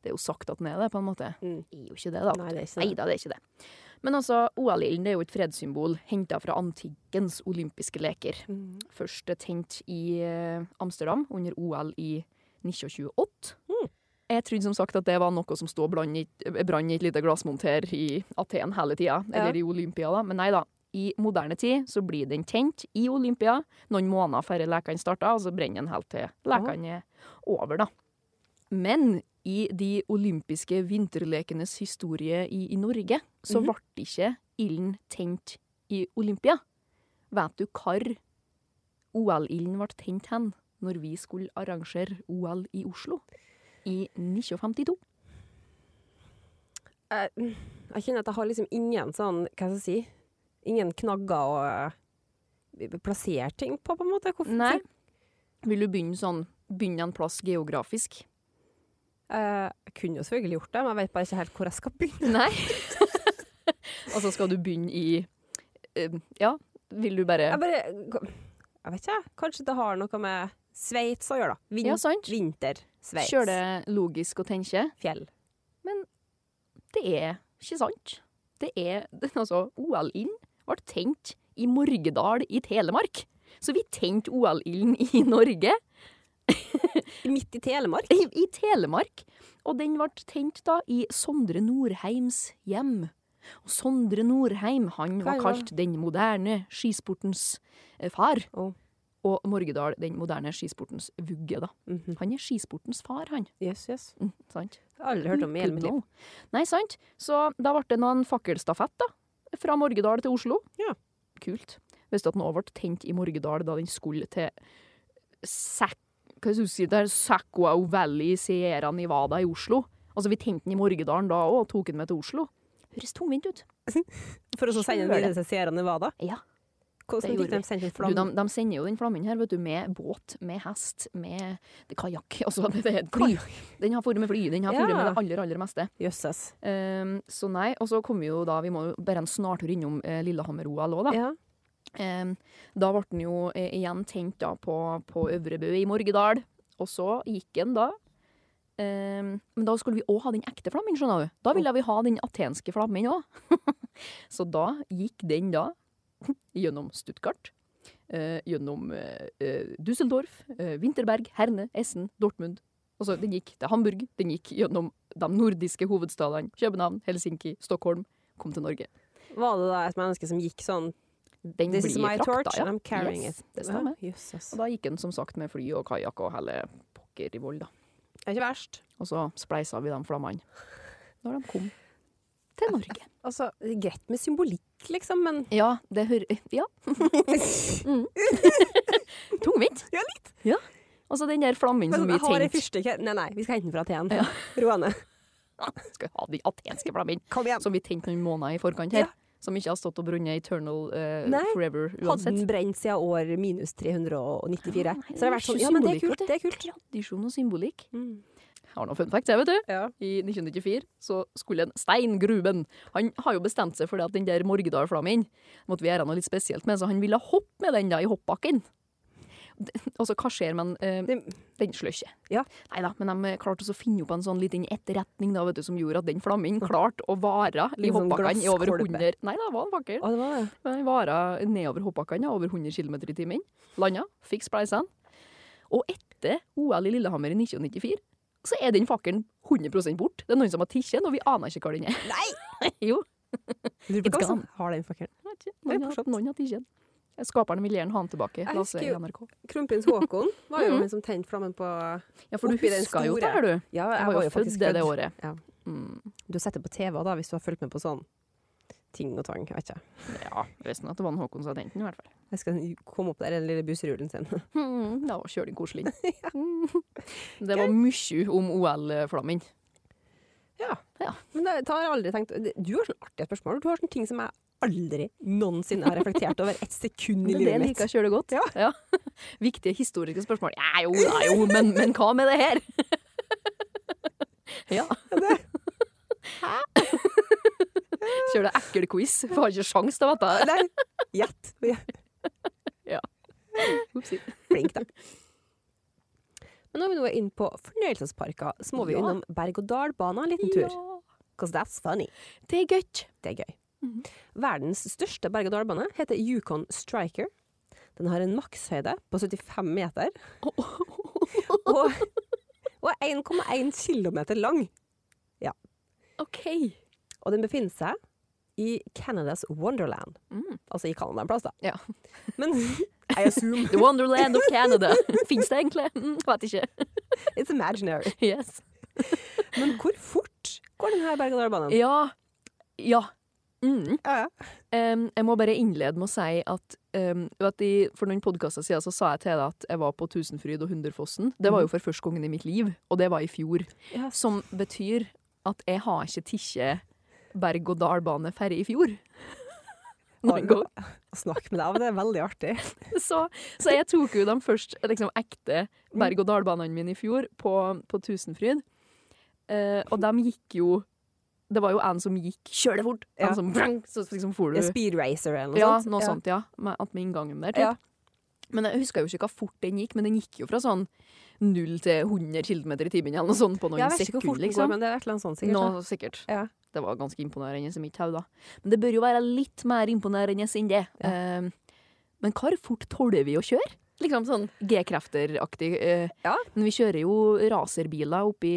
[SPEAKER 3] Det er jo sagt at den er det, på en måte.
[SPEAKER 2] Mm.
[SPEAKER 3] Det er jo ikke det, da.
[SPEAKER 2] Nei, det er ikke
[SPEAKER 3] Nei
[SPEAKER 2] det.
[SPEAKER 3] da, det er ikke det. Men altså, OL-ilden er jo et fredssymbol henta fra antikkens olympiske leker.
[SPEAKER 2] Mm.
[SPEAKER 3] Først tent i eh, Amsterdam under OL i 1928.
[SPEAKER 2] Mm.
[SPEAKER 3] Jeg trodde som sagt at det var noe som stod og brann i, brann i et lite glassmonter i Aten hele tida,
[SPEAKER 2] Ja.
[SPEAKER 3] eller i Olympia, da. Men nei da. I moderne tid så blir den tent i Olympia noen måneder før lekene starter, og så brenner den helt til lekene er over, da. Men i de olympiske vinterlekenes historie i, i Norge, så
[SPEAKER 2] Mhm.
[SPEAKER 3] ble ikke ilden tent i Olympia. Vet du hvor OL-ilden ble tent hen når vi skulle arrangere OL i Oslo? I 1952.
[SPEAKER 2] jeg, jeg kjenner at jeg har liksom ingen sånn, hva skal jeg si, ingen knagger å eh, plassere ting på, på en måte. Hvorfor?
[SPEAKER 3] Nei. Vil du begynne sånn, begynne en plass geografisk?
[SPEAKER 2] Eh, jeg kunne jo selvfølgelig gjort det, men jeg vet bare ikke helt hvor jeg skal begynne.
[SPEAKER 3] [laughs] Nei. altså, skal du begynne i eh, Ja, vil du bare
[SPEAKER 2] Jeg bare, jeg vet ikke, kanskje det har noe med Sveits å gjøre da. Vin
[SPEAKER 3] Ja, sant?
[SPEAKER 2] Vinter, Sveits,
[SPEAKER 3] Kjør det logisk og tenke.
[SPEAKER 2] fjell.
[SPEAKER 3] Det er ikke sant. det er [laughs] altså OL-ilden ble tent i Morgedal i Telemark. Så vi tente OL-ilden i Norge,
[SPEAKER 2] Midt i [laughs] Telemark.
[SPEAKER 3] i, i Telemark. Og den ble tent da i Sondre Norheims hjem. Og Sondre Norheim han
[SPEAKER 2] Hva er
[SPEAKER 3] var
[SPEAKER 2] det?
[SPEAKER 3] kalt den moderne skisportens eh, far.
[SPEAKER 2] Å.
[SPEAKER 3] Og Morgedal den moderne skisportens vugge, da.
[SPEAKER 2] Mhm.
[SPEAKER 3] Han er skisportens far, han.
[SPEAKER 2] Yes, yes.
[SPEAKER 3] Mm, sant?
[SPEAKER 2] Jeg har aldri hørt om i hele mitt liv.
[SPEAKER 3] Gudno. Nei, sant. Så da ble det noen fakkelstafett, da. Fra Morgedal til Oslo.
[SPEAKER 2] Ja.
[SPEAKER 3] Kult. Visste du at den òg ble tent i Morgedal da den skulle til Sac... Hva skal du si der? Sacquow Valley, Sierra Nevada i Oslo. Altså, vi tente den i Morgedalen da òg, og tok den med til Oslo. Høres tungvint ut.
[SPEAKER 2] For å så sende den
[SPEAKER 3] Skjønner
[SPEAKER 2] videre til Sierra Nevada.
[SPEAKER 3] Ja.
[SPEAKER 2] Hvordan
[SPEAKER 3] Det
[SPEAKER 2] fikk
[SPEAKER 3] gjorde
[SPEAKER 2] de sendt en
[SPEAKER 3] Du, de,
[SPEAKER 2] flamme?
[SPEAKER 3] de sender jo den flammen her, vet du, med båt, med hest, med kajakk. [laughs] Altså, det er et fly. Den har vært med fly. Den har vært med
[SPEAKER 2] Ja.
[SPEAKER 3] det aller, aller meste.
[SPEAKER 2] Jøsses.
[SPEAKER 3] Ehm, så nei, og så kom vi jo da, vi må jo bare en snartur innom eh, Lillehammer-OL òg, da.
[SPEAKER 2] Ja.
[SPEAKER 3] Ehm, da ble den jo eh, igjen tent da på, på Øvrebø i Morgedal, og så gikk den da. Ehm, men da skulle vi òg ha den ekte flammen, skjønner du. Da ville vi ha den atenske flammen òg. [laughs] så da gikk den da gjennom Stuttgart. eh, gjennom eh, eh, Düsseldorf, eh, Winterberg, Herne, Essen, Dortmund. Altså, den gikk til Hamburg, den gikk gjennom de nordiske hovedstadene København, Helsinki, Stockholm, kom til Norge.
[SPEAKER 2] Var det da et menneske som gikk sånn
[SPEAKER 3] Den
[SPEAKER 2] This is my
[SPEAKER 3] frakta,
[SPEAKER 2] torch,
[SPEAKER 3] ja.
[SPEAKER 2] and I'm carrying
[SPEAKER 3] Yes,
[SPEAKER 2] it.
[SPEAKER 3] Det stemmer.
[SPEAKER 2] Ja, Jøsses.
[SPEAKER 3] Og da gikk den som sagt med fly og kajakk og hele pokker i vold, da.
[SPEAKER 2] Det er ikke verst.
[SPEAKER 3] Og så spleisa vi de flammene når de kom til Norge.
[SPEAKER 2] Altså, det er greit med symbolikk, liksom, men
[SPEAKER 3] Ja, det hører [laughs] Ja. mm. [laughs] Tungvint.
[SPEAKER 2] Ja,
[SPEAKER 3] litt. Ja. Og så den der flammen som
[SPEAKER 2] Men
[SPEAKER 3] vi
[SPEAKER 2] jeg har ei
[SPEAKER 3] tenkte
[SPEAKER 2] fyrstikk her. Nei, nei, vi skal hente den fra Aten.
[SPEAKER 3] Ja.
[SPEAKER 2] [laughs] Roane,
[SPEAKER 3] Skal ha den atenske flammen
[SPEAKER 2] kom igjen.
[SPEAKER 3] som vi tente noen måneder i forkant her.
[SPEAKER 2] Ja.
[SPEAKER 3] Som ikke har stått og brunnet eternal eh,
[SPEAKER 2] Nei.
[SPEAKER 3] forever
[SPEAKER 2] Hadde
[SPEAKER 3] uansett.
[SPEAKER 2] den brent siden år minus 394.
[SPEAKER 3] Ja, nei,
[SPEAKER 2] så det har vært sånn Ja, men det er kult, det er kult.
[SPEAKER 3] Tradisjon og symbolikk.
[SPEAKER 2] Mm.
[SPEAKER 3] Jeg har noen fun facts, jeg, vet du.
[SPEAKER 2] Ja.
[SPEAKER 3] i 1994 så skulle en Steingruben Han har jo bestemt seg for det at den der Morgedal-flammen måtte vi gjøre noe litt spesielt med, så han ville hoppe med den da i hoppbakken. [laughs] Det- Altså, hva skjer med en eh,
[SPEAKER 2] Det-
[SPEAKER 3] Den slår ikke.
[SPEAKER 2] Ja.
[SPEAKER 3] Nei da, men de eh, klarte også å finne opp en sånn liten etterretning da, vet du, som gjorde at den flammen klarte å vare
[SPEAKER 2] Mm.
[SPEAKER 3] i
[SPEAKER 2] Litt sånn
[SPEAKER 3] hoppbakkene i over
[SPEAKER 2] glasskolbe.
[SPEAKER 3] 100 Nei da, det var en fakkel.
[SPEAKER 2] Å, det var det.
[SPEAKER 3] Men den Eh, vara nedover hoppbakkene ja, over 100 km i timen. Landa, fikk spleisene. Og etter OL i Lillehammer i 1994 så er den fakkelen 100 bort. Det er noen som har tatt den, og vi aner ikke hvor
[SPEAKER 2] [laughs]
[SPEAKER 3] den er. Nei! jo.
[SPEAKER 2] Lurer på
[SPEAKER 3] It's
[SPEAKER 2] hva som
[SPEAKER 3] gone.
[SPEAKER 2] har den fakkelen.
[SPEAKER 3] jeg vet ikke.
[SPEAKER 2] Det er
[SPEAKER 3] Noen har,
[SPEAKER 2] fortsatt.
[SPEAKER 3] noen har tatt den. Skaperen vil gjerne ha den tilbake.
[SPEAKER 2] Jeg
[SPEAKER 3] Lasse
[SPEAKER 2] husker
[SPEAKER 3] i
[SPEAKER 2] jo-
[SPEAKER 3] NRK.
[SPEAKER 2] Kronprins Håkon var jo
[SPEAKER 3] Mhm.
[SPEAKER 2] han som tente flammen på
[SPEAKER 3] Ja, for du
[SPEAKER 2] Oppi den
[SPEAKER 3] husker jo det
[SPEAKER 2] store.
[SPEAKER 3] her, du.
[SPEAKER 2] Ja,
[SPEAKER 3] Jeg var jo født det, det året.
[SPEAKER 2] Ja.
[SPEAKER 3] Mm,
[SPEAKER 2] Du har sett det på TV da, hvis du har fulgt med på sånn ting og tang. Jeg vet ikke.
[SPEAKER 3] ja, resten av det var en Håkon som hadde hentet den, i hvert
[SPEAKER 2] [laughs]
[SPEAKER 3] fall.
[SPEAKER 2] Jeg skal komme opp der i den lille busserullen sin.
[SPEAKER 3] Mm, da var kjølig koselig. Mm. Det var mye om OL-flammen.
[SPEAKER 2] Men det har jeg aldri tenkt det- Du har sånne artige spørsmål. Du har sånne ting som jeg aldri noensinne har reflektert over et sekund i
[SPEAKER 3] Men det
[SPEAKER 2] livet mitt.
[SPEAKER 3] liker jeg kjølig godt. Ja. [laughs] Viktige historiske spørsmål. Ja, jo, ja, jo, men, men hva med det her? [laughs] ja. [laughs] Kjør deg ekkel quiz, for har ikke sjans til å vite det.
[SPEAKER 2] Nei, gjett.
[SPEAKER 3] Upsi.
[SPEAKER 2] Flink, da. Men når vi nå er inne på fornøyelsesparker, så må vi
[SPEAKER 3] Ja.
[SPEAKER 2] innom berg-og-dal-bana en liten tur.
[SPEAKER 3] Ja.
[SPEAKER 2] Because that's funny.
[SPEAKER 3] Det er gøy.
[SPEAKER 2] Det er gøy.
[SPEAKER 3] Mhm.
[SPEAKER 2] Verdens største berg-og-dal-bane heter Yukon Striker. Den har en makshøyde på 75 meter
[SPEAKER 3] [laughs]
[SPEAKER 2] og, og er 1,1 km lang.
[SPEAKER 3] OK.
[SPEAKER 2] Og den befinner seg i Canadas Wonderland.
[SPEAKER 3] Mm.
[SPEAKER 2] Altså i Canada en plass, da.
[SPEAKER 3] Ja. [laughs]
[SPEAKER 2] Men I assume
[SPEAKER 3] The Wonderland of Canada. [laughs] Fins det egentlig? Mm, vet ikke.
[SPEAKER 2] [laughs] it's imaginary.
[SPEAKER 3] Yes.
[SPEAKER 2] Men hvor fort går denne berg-og-dal-banen?
[SPEAKER 3] Ja. Ja. Mm.
[SPEAKER 2] Ja.
[SPEAKER 3] Em, jeg må bare innlede med å si at, em, at i, for noen podkaster siden så sa jeg til deg at jeg var på Tusenfryd og Hunderfossen. Det var jo for første gangen i mitt liv, og det var i fjor.
[SPEAKER 2] Ja.
[SPEAKER 3] Som betyr at jeg har ikke tikkje berg-og-dal-bane ferdig i fjor. Noen gang.
[SPEAKER 2] Å snakke med deg om det er veldig artig.
[SPEAKER 3] [laughs] Så, så jeg tok jo de først liksom, ekte berg-og-dal-banene mine i fjor på, på Tusenfryd. Eh, og de gikk jo Det var jo en som gikk 'kjør det fort', en
[SPEAKER 2] Ja.
[SPEAKER 3] som vrang, så liksom for du
[SPEAKER 2] En speed racer eller noe
[SPEAKER 3] ja,
[SPEAKER 2] sånt.
[SPEAKER 3] noe sånn, sånt, ja. Med, at med inngangen der, typ.
[SPEAKER 2] Ja.
[SPEAKER 3] Men jeg husker jo ikke hvor fort den gikk, men den gikk jo fra sånn 0 til 100 km i timen eller noe sånt på noen
[SPEAKER 2] Jeg vet ikke hvor fort
[SPEAKER 3] sekunder,
[SPEAKER 2] den går,
[SPEAKER 3] liksom.
[SPEAKER 2] men det er et eller annet sånt, sikkert. da.
[SPEAKER 3] Nå, sikkert.
[SPEAKER 2] Ja.
[SPEAKER 3] Det var ganske imponerende i mitt hode, da. Men det bør jo være litt mer imponerende enn det.
[SPEAKER 2] Ja.
[SPEAKER 3] Eh, men hvor fort tåler vi å kjøre? Liksom sånn G-krefter-aktig. eh,
[SPEAKER 2] Ja.
[SPEAKER 3] Men vi kjører jo racerbiler eh, oppi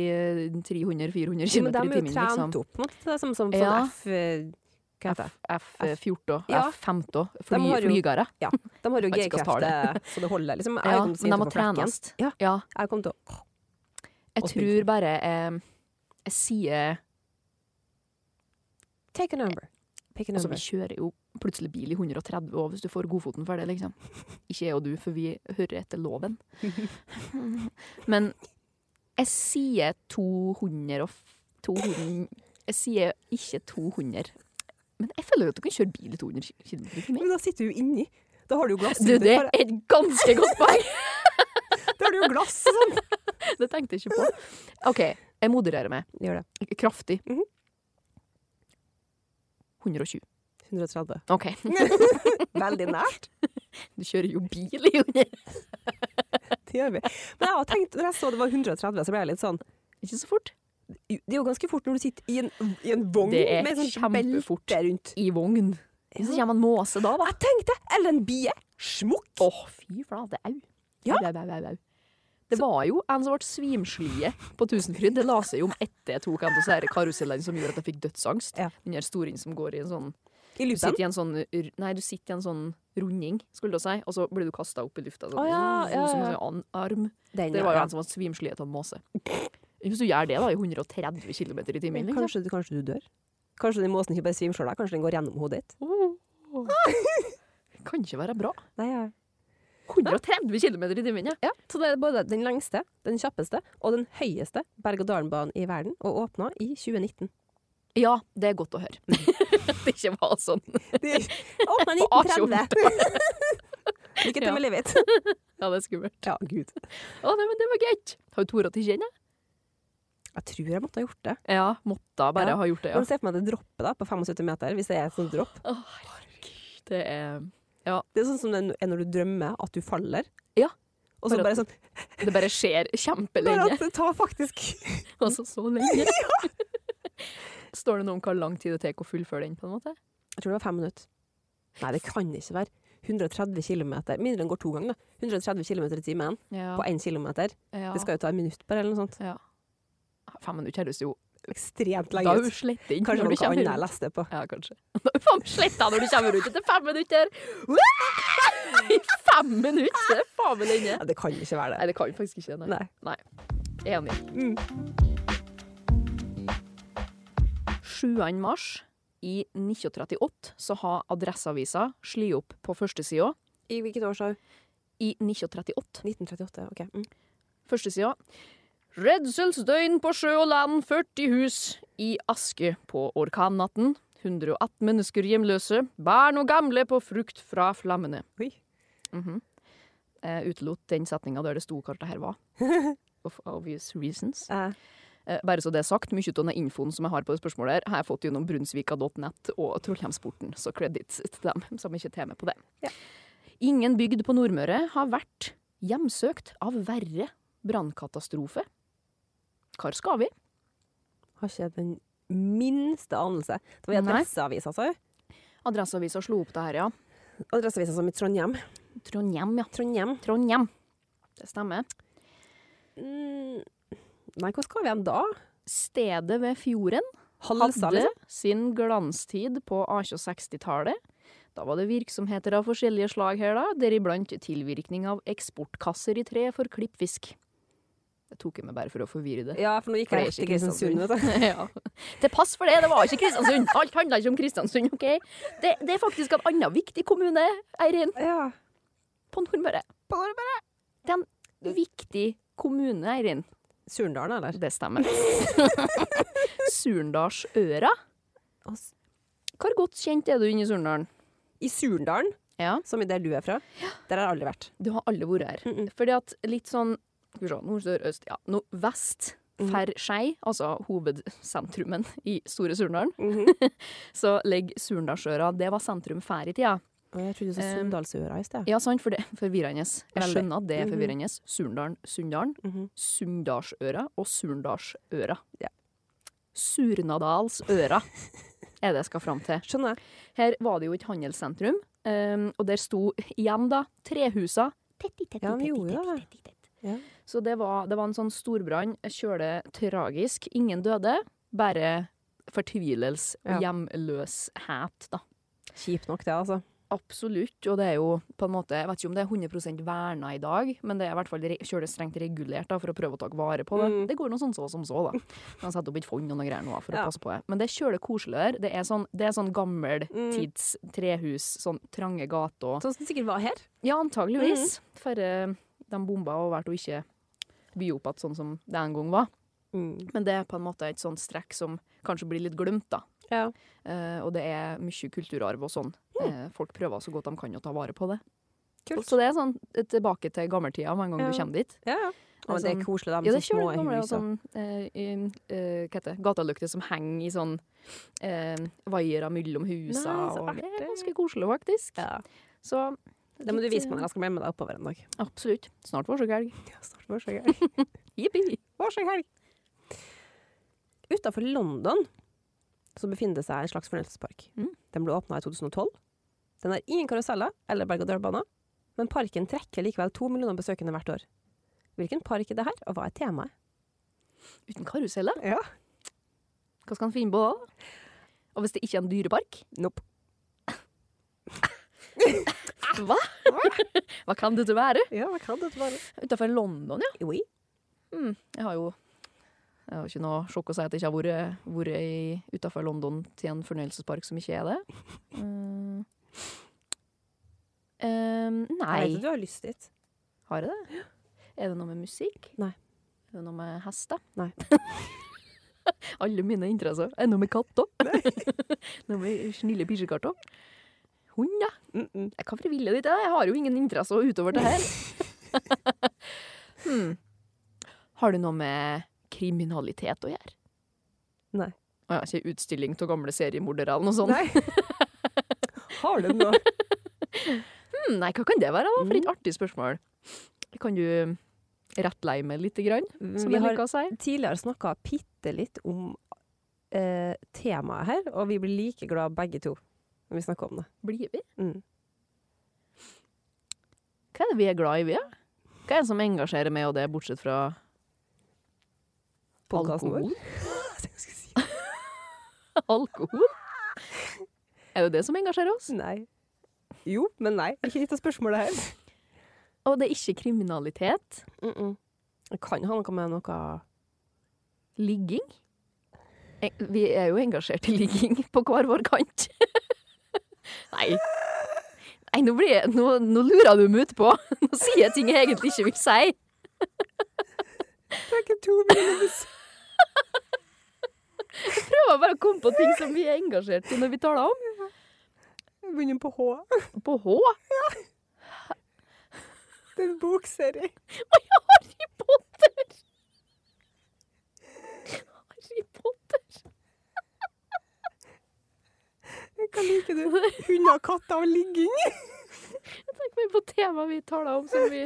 [SPEAKER 3] 300-400
[SPEAKER 2] Jo,
[SPEAKER 3] km
[SPEAKER 2] men de
[SPEAKER 3] i
[SPEAKER 2] er jo
[SPEAKER 3] timen,
[SPEAKER 2] trent
[SPEAKER 3] liksom.
[SPEAKER 2] opp mot det, er som, som sånn
[SPEAKER 3] Ja.
[SPEAKER 2] F... eh, Hva heter det?
[SPEAKER 3] F14,
[SPEAKER 2] Ja.
[SPEAKER 3] F15,
[SPEAKER 2] De
[SPEAKER 3] fly,
[SPEAKER 2] har jo-
[SPEAKER 3] flygere.
[SPEAKER 2] De har jo
[SPEAKER 3] Jeg vet ikke hva
[SPEAKER 2] G-krefter, [laughs] så det holder. liksom. Jeg
[SPEAKER 3] Ja,
[SPEAKER 2] kom til å
[SPEAKER 3] men
[SPEAKER 2] si
[SPEAKER 3] de
[SPEAKER 2] det
[SPEAKER 3] må
[SPEAKER 2] på flekken.
[SPEAKER 3] trenes.
[SPEAKER 2] Ja.
[SPEAKER 3] ja.
[SPEAKER 2] Jeg kom til å
[SPEAKER 3] Jeg
[SPEAKER 2] og
[SPEAKER 3] tror bare eh, jeg sier
[SPEAKER 2] Take a number. Pick a
[SPEAKER 3] Altså, vi
[SPEAKER 2] number.
[SPEAKER 3] kjører jo plutselig bil i 130 og hvis du får godfoten for det, liksom. Ikke jeg og du, for vi hører etter
[SPEAKER 2] [laughs]
[SPEAKER 3] loven. Men jeg sier 200 og f- 200 Jeg sier ikke 200. Men jeg føler jo at du kan kjøre bil i 200 km i timen.
[SPEAKER 2] Men da sitter du jo inni. Da har du jo glass
[SPEAKER 3] Du, det er et ganske godt poeng! [laughs]
[SPEAKER 2] Da har du jo glass og sånn.
[SPEAKER 3] Det tenkte jeg ikke på. OK, jeg modererer meg.
[SPEAKER 2] Gjør det.
[SPEAKER 3] Kraftig.
[SPEAKER 2] Mhm.
[SPEAKER 3] 120. [laughs]
[SPEAKER 2] 130.
[SPEAKER 3] OK.
[SPEAKER 2] [laughs] Veldig nært.
[SPEAKER 3] Du kjører jo bil i 100.
[SPEAKER 2] Det gjør vi. Men jeg har tenkt, når jeg så det var 130, så ble jeg litt sånn
[SPEAKER 3] Ikke så fort.
[SPEAKER 2] Det er jo ganske fort når du sitter i en, i en vogn
[SPEAKER 3] Det er
[SPEAKER 2] med en sånn
[SPEAKER 3] kjempefort.
[SPEAKER 2] belte rundt.
[SPEAKER 3] i vogn.
[SPEAKER 2] Ja.
[SPEAKER 3] Så kommer en måse da, da.
[SPEAKER 2] Jeg tenkte Eller en bie. Smukk.
[SPEAKER 3] Å, fy flate. Au.
[SPEAKER 2] Ja.
[SPEAKER 3] Au, au, au, au, au. Det var jo en som ble svimslige på Tusenfryd. Det la seg jo om etter jeg tok en av disse her karusellene som gjorde at jeg fikk dødsangst.
[SPEAKER 2] Ja.
[SPEAKER 3] Den her storingen som går i en sånn
[SPEAKER 2] I
[SPEAKER 3] Du
[SPEAKER 2] lupen.
[SPEAKER 3] sitter i en sånn r- Nei, du sitter i en sånn runding, skulle du si, og så blir du kasta opp i lufta. Sånn,
[SPEAKER 2] Å, ja, ja,
[SPEAKER 3] Som en
[SPEAKER 2] ja.
[SPEAKER 3] sånn arm.
[SPEAKER 2] Den,
[SPEAKER 3] Det
[SPEAKER 2] ja,
[SPEAKER 3] var jo
[SPEAKER 2] ja.
[SPEAKER 3] en som ble svimslige av en måse. Hvis du gjør det da i 130 km i timen, liksom.
[SPEAKER 2] Kanskje, du- kanskje du dør? Kanskje den måsen ikke bare svimer sjøl, kanskje den går gjennom hodet ditt?
[SPEAKER 3] kan ikke være bra.
[SPEAKER 2] Nei, ja.
[SPEAKER 3] 130 km i timen, ja.
[SPEAKER 2] Ja, så det er både den lengste, den kjappeste og den høyeste berg-og-dal-banen i verden, og åpna i
[SPEAKER 3] [laughs]
[SPEAKER 2] 2019.
[SPEAKER 3] Ja, det er godt å høre. At [laughs] det ikke var sånn.
[SPEAKER 2] Åpna i 1930!
[SPEAKER 3] 1930.
[SPEAKER 2] [laughs] Lykke til
[SPEAKER 3] Ja.
[SPEAKER 2] med livet ditt.
[SPEAKER 3] Ja, det er skummelt.
[SPEAKER 2] Ja, gud.
[SPEAKER 3] Å, nei, men det var greit. Har du Tora til kjenne?
[SPEAKER 2] Jeg tror jeg måtte ha gjort det.
[SPEAKER 3] Ja, måtte bare
[SPEAKER 2] Ja.
[SPEAKER 3] ha gjort det,
[SPEAKER 2] Men
[SPEAKER 3] ja.
[SPEAKER 2] se for meg det droppet da, på 75 meter, hvis det er et sånt dropp.
[SPEAKER 3] Å, herregud. Det er,
[SPEAKER 2] Det er sånn som det er når du drømmer at du faller.
[SPEAKER 3] Ja.
[SPEAKER 2] Og så
[SPEAKER 3] Bare
[SPEAKER 2] bare
[SPEAKER 3] at-
[SPEAKER 2] sånn
[SPEAKER 3] det bare skjer
[SPEAKER 2] Bare
[SPEAKER 3] kjempelenge.
[SPEAKER 2] at det tar faktisk
[SPEAKER 3] [laughs] Altså, så lenge. Står det noe om hvor lang tid det tar å fullføre den, på en måte?
[SPEAKER 2] Jeg tror det var fem minutter. Nei, det kan ikke være. 130 km Mindre enn går to ganger, da. 130 km i timen
[SPEAKER 3] Ja.
[SPEAKER 2] på én kilometer.
[SPEAKER 3] ja.
[SPEAKER 2] Det skal jo ta et minutt bare, eller noe sånt.
[SPEAKER 3] ja. Fem minutter høres jo
[SPEAKER 2] Ekstremt lenge ut.
[SPEAKER 3] dausslett inn.
[SPEAKER 2] Kanskje det
[SPEAKER 3] når
[SPEAKER 2] var
[SPEAKER 3] du
[SPEAKER 2] noe
[SPEAKER 3] kommer
[SPEAKER 2] annet
[SPEAKER 3] ut.
[SPEAKER 2] jeg leste på.
[SPEAKER 3] Ja, kanskje. [laughs] Da er faen sletta når du kommer ut etter fem [laughs] minutter! I fem minutter! Det er faen meg lenge.
[SPEAKER 2] Ja, det kan ikke være det.
[SPEAKER 3] Nei, det kan faktisk ikke. Nei.
[SPEAKER 2] Nei.
[SPEAKER 3] Enig.
[SPEAKER 2] Mm.
[SPEAKER 3] 7. mars i 1938 så har Adresseavisa slått opp på førstesida
[SPEAKER 2] I hvilket år, sa du?
[SPEAKER 3] i 1938.
[SPEAKER 2] 1938. OK. Mm.
[SPEAKER 3] Førstesida. Redselsdøgn på sjø og land, 40 hus i aske på orkannatten. 118 mennesker hjemløse, barn og gamle på frukt fra flammene.
[SPEAKER 2] Oi.
[SPEAKER 3] Mhm. Jeg utelot den setninga der det sto hva det her var. Of obvious reasons.
[SPEAKER 2] Eh,
[SPEAKER 3] Eh, Bare så det er sagt, mye av den infoen som jeg har på det spørsmålet her, har jeg fått gjennom brunsvika.nett og Trollheimsporten, så credits til dem som ikke tar med på det.
[SPEAKER 2] Ja.
[SPEAKER 3] Ingen bygd på Nordmøre har vært hjemsøkt av verre brannkatastrofe. Hvor skal vi?
[SPEAKER 2] har ikke den minste anelse. Det var i
[SPEAKER 3] Nei.
[SPEAKER 2] Adresseavisa, sa du?
[SPEAKER 3] Adresseavisa slo opp det her, ja.
[SPEAKER 2] Adresseavisa som i Trondheim.
[SPEAKER 3] Trondheim, ja.
[SPEAKER 2] Trondheim.
[SPEAKER 3] Trondheim. Det stemmer.
[SPEAKER 2] Mm. Nei, hvor skal vi hen da?
[SPEAKER 3] Stedet ved fjorden
[SPEAKER 2] Halsa,
[SPEAKER 3] hadde
[SPEAKER 2] liksom?
[SPEAKER 3] sin glanstid på 1860-tallet. Da var det virksomheter av forskjellige slag her, da, deriblant tilvirkning av eksportkasser i tre for klippfisk. Det tok jeg meg bare for å forvirre
[SPEAKER 2] [laughs]
[SPEAKER 3] det.
[SPEAKER 2] liksom. Ja, for nå gikk jeg rett til
[SPEAKER 3] For det er ikke
[SPEAKER 2] Kristiansund, vet du.
[SPEAKER 3] ja. Til pass for det, det var ikke Kristiansund! Alt handla ikke om Kristiansund, OK? Det, det er faktisk en annen viktig kommune, Eirin,
[SPEAKER 2] Ja.
[SPEAKER 3] på Nordmøre. På Nordmøre! Det er en viktig kommune, Eirin.
[SPEAKER 2] Surndalen, eller?
[SPEAKER 3] Det stemmer. Surndalsøra.
[SPEAKER 2] Oss.
[SPEAKER 3] Hvor godt kjent er du inne i Surndalen?
[SPEAKER 2] I Surndalen,
[SPEAKER 3] Ja.
[SPEAKER 2] som i der du er fra, der har jeg aldri
[SPEAKER 3] [laughs]
[SPEAKER 2] vært.
[SPEAKER 3] Du har alle vært her.
[SPEAKER 2] Mm-mm.
[SPEAKER 3] Fordi at litt sånn Skal vi se, nord, sør, øst Ja, no, vest
[SPEAKER 2] Mhm.
[SPEAKER 3] for Skei, altså
[SPEAKER 2] Mhm.
[SPEAKER 3] hovedsentrumen i Store Surndalen, så ligger Surndalsøra Det var sentrum før i tida.
[SPEAKER 2] Og jeg trodde du sa
[SPEAKER 3] Eh,
[SPEAKER 2] Sunndalsøra i sted.
[SPEAKER 3] Ja, sant, for det er forvirrende. Jeg
[SPEAKER 2] Veldig.
[SPEAKER 3] skjønner at det er
[SPEAKER 2] Mhm.
[SPEAKER 3] forvirrende. Surndalen, Sunndalen,
[SPEAKER 2] Mhm.
[SPEAKER 3] Sunndalsøra og Surndalsøra.
[SPEAKER 2] Ja.
[SPEAKER 3] Surnadalsøra er det jeg skal fram til.
[SPEAKER 2] Skjønner jeg.
[SPEAKER 3] Her var det jo et handelssentrum, ehm, og der sto igjen da trehusa. Tett, tett, tett,
[SPEAKER 2] Ja, de
[SPEAKER 3] tett,
[SPEAKER 2] gjorde
[SPEAKER 3] tett,
[SPEAKER 2] det.
[SPEAKER 3] tett, tett, tett.
[SPEAKER 2] Ja.
[SPEAKER 3] Så det var, det var en sånn storbrann, kjøle tragisk. Ingen døde, bare fortvilelse og
[SPEAKER 2] Ja.
[SPEAKER 3] hjemløshet, da.
[SPEAKER 2] Kjipt nok, det, altså.
[SPEAKER 3] Absolutt, og det er jo på en måte, jeg vet ikke om det er 100 verna i dag, men det er i hvert fall re- kjølig strengt regulert da, for å prøve å ta vare på det.
[SPEAKER 2] Mm.
[SPEAKER 3] Det går noe sånn så som så, da. Man setter opp et fond og noe greier nå for
[SPEAKER 2] Ja.
[SPEAKER 3] å passe på det. Men det er kjølig koselig der. Det er sånn, det er sånn gammel
[SPEAKER 2] Mm.
[SPEAKER 3] tids trehus, sånn trange gater. og-
[SPEAKER 2] Sånn som det sikkert var her.
[SPEAKER 3] Ja,
[SPEAKER 2] Mm.
[SPEAKER 3] antageligvis. For eh, de bomba og valgte å ikke by opp igjen sånn som det en gang var.
[SPEAKER 2] Mm.
[SPEAKER 3] Men det er på en måte et sånt strekk som kanskje blir litt glemt, da.
[SPEAKER 2] Ja.
[SPEAKER 3] Eh, og det er mye kulturarv og sånn.
[SPEAKER 2] Mm.
[SPEAKER 3] Eh, folk prøver så godt de kan å ta vare på det.
[SPEAKER 2] Kult.
[SPEAKER 3] Så det er sånn eh, tilbake til gammeltida med en gang
[SPEAKER 2] Ja.
[SPEAKER 3] du kommer dit.
[SPEAKER 2] Ja, Altså, ja.
[SPEAKER 3] er
[SPEAKER 2] Og det
[SPEAKER 3] sånn-
[SPEAKER 2] er koselig, de
[SPEAKER 3] Ja, det
[SPEAKER 2] så små
[SPEAKER 3] kjører gamle og sånn eh, i, eh, Hva heter det? Gatalykter som henger i sånn eh, vaiere mellom husa.
[SPEAKER 2] Nei, så
[SPEAKER 3] og det er
[SPEAKER 2] artig.
[SPEAKER 3] ganske koselig, faktisk.
[SPEAKER 2] Ja.
[SPEAKER 3] Så
[SPEAKER 2] Det må du
[SPEAKER 3] litt,
[SPEAKER 2] vise meg
[SPEAKER 3] eh,
[SPEAKER 2] når jeg skal bli med deg oppover en dag.
[SPEAKER 3] Absolutt. Snart vårsøkhelg.
[SPEAKER 2] Ja, snart vårsøkhelg.
[SPEAKER 3] Jippi!
[SPEAKER 2] Vårsøkhelg! Utafor London så befinner det seg en slags fornøyelsespark.
[SPEAKER 3] Mm.
[SPEAKER 2] Den ble åpna i 2012. Den har ingen karuseller eller berg-og-dal-baner, men parken trekker likevel to millioner besøkende hvert år. Hvilken park er det her, og hva er temaet?
[SPEAKER 3] Uten karuseller?
[SPEAKER 2] Ja.
[SPEAKER 3] Hva skal han finne på da? Og hvis det ikke er en dyrepark?
[SPEAKER 2] Nope.
[SPEAKER 3] Hva? Hva [laughs] kan dette være?
[SPEAKER 2] Ja, hva kan dette være?
[SPEAKER 3] Utenfor London, ja.
[SPEAKER 2] Oui.
[SPEAKER 3] Mm. Jeg har jo jeg har ikke noe sjokk å si at jeg ikke har vært, vært i- utenfor London til en fornøyelsespark som ikke er det. Mm. Ehm,
[SPEAKER 2] Jeg vet
[SPEAKER 3] nei.
[SPEAKER 2] at du har lyst dit.
[SPEAKER 3] Har jeg det? Er det noe med musikk?
[SPEAKER 2] Nei.
[SPEAKER 3] Er det noe med hester?
[SPEAKER 2] Nei.
[SPEAKER 3] [laughs] Alle mine interesser. Er det noe med katter? [laughs] noe med snille bikkjekatter? Hund, ja.
[SPEAKER 2] Mm -mm.
[SPEAKER 3] Jeg kan friville ditt, jeg har jo ingen interesse utover det
[SPEAKER 2] [laughs]
[SPEAKER 3] her. hmm. Har du noe med kriminalitet å gjøre?
[SPEAKER 2] Nei.
[SPEAKER 3] Å ja, ikke utstilling av gamle seriemordere eller noe sånt? Nei.
[SPEAKER 2] Nei. Sånn. [laughs] Har du [laughs] noe?
[SPEAKER 3] Hmm, nei, hva kan det være da? For et
[SPEAKER 2] Mm.
[SPEAKER 3] artig spørsmål. Kan du um, rettleie meg litt, grann, som
[SPEAKER 2] Mm, Vi
[SPEAKER 3] jeg
[SPEAKER 2] har
[SPEAKER 3] liker å si?
[SPEAKER 2] tidligere snakka bitte litt om eh, temaet her, og vi blir like glad begge to når vi snakker om det.
[SPEAKER 3] Blir vi?
[SPEAKER 2] Mm.
[SPEAKER 3] Hva er det vi er glad i, vi? da? Hva er det som engasjerer meg og det, bortsett fra
[SPEAKER 2] Podcasten vår.
[SPEAKER 3] alkohol?
[SPEAKER 2] [laughs]
[SPEAKER 3] alkohol? [laughs] Er det det som engasjerer oss?
[SPEAKER 2] Nei. Jo, men nei. Ikke litt av spørsmålet her.
[SPEAKER 3] Og det er ikke kriminalitet?
[SPEAKER 2] Mm -mm. Det kan ha noe med noe
[SPEAKER 3] Ligging? Eng- Vi er jo engasjert i ligging på hver vår kant. [laughs] Nei. Nei, nå, blir jeg, nå, nå lurer du meg utpå. [laughs] Nå sier jeg ting jeg egentlig ikke vil si.
[SPEAKER 2] Det er ikke to minus.
[SPEAKER 3] Prøver bare å komme på ting som vi er engasjert i når vi taler om.
[SPEAKER 2] Begynner på H.
[SPEAKER 3] På H.
[SPEAKER 2] Det er en bokserie.
[SPEAKER 3] Harry Potter! Harry Potter.
[SPEAKER 2] Hva liker du? Hunder, katter og ligging.
[SPEAKER 3] Jeg tenker meg på temaet vi taler om, som vi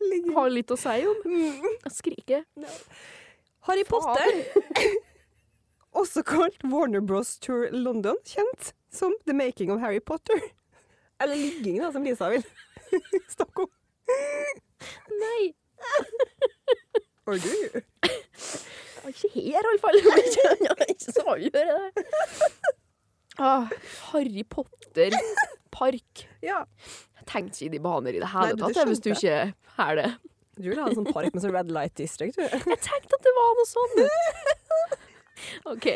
[SPEAKER 2] ligging.
[SPEAKER 3] har litt å si om.
[SPEAKER 2] Mm.
[SPEAKER 3] Skrike.
[SPEAKER 2] Harry Potter. Også kalt Warner Bros. Tour London, kjent som The Making of Harry Potter. Eller ligging, da, som Lisa vil [laughs] snakke om.
[SPEAKER 3] Nei.
[SPEAKER 2] Or do you?
[SPEAKER 3] Ikke her, [laughs] iallfall. Ikke så avgjør det. Ah, Harry Potter park.
[SPEAKER 2] Ja.
[SPEAKER 3] Tenk ikke i de baner i det
[SPEAKER 2] Nei,
[SPEAKER 3] hele
[SPEAKER 2] du, det
[SPEAKER 3] tatt, jeg, hvis du
[SPEAKER 2] skjønte
[SPEAKER 3] ikke er det.
[SPEAKER 2] Du vil ha en sånn park med sånn red light district, du.
[SPEAKER 3] Jeg tenkte at det var noe [laughs] sånn. OK.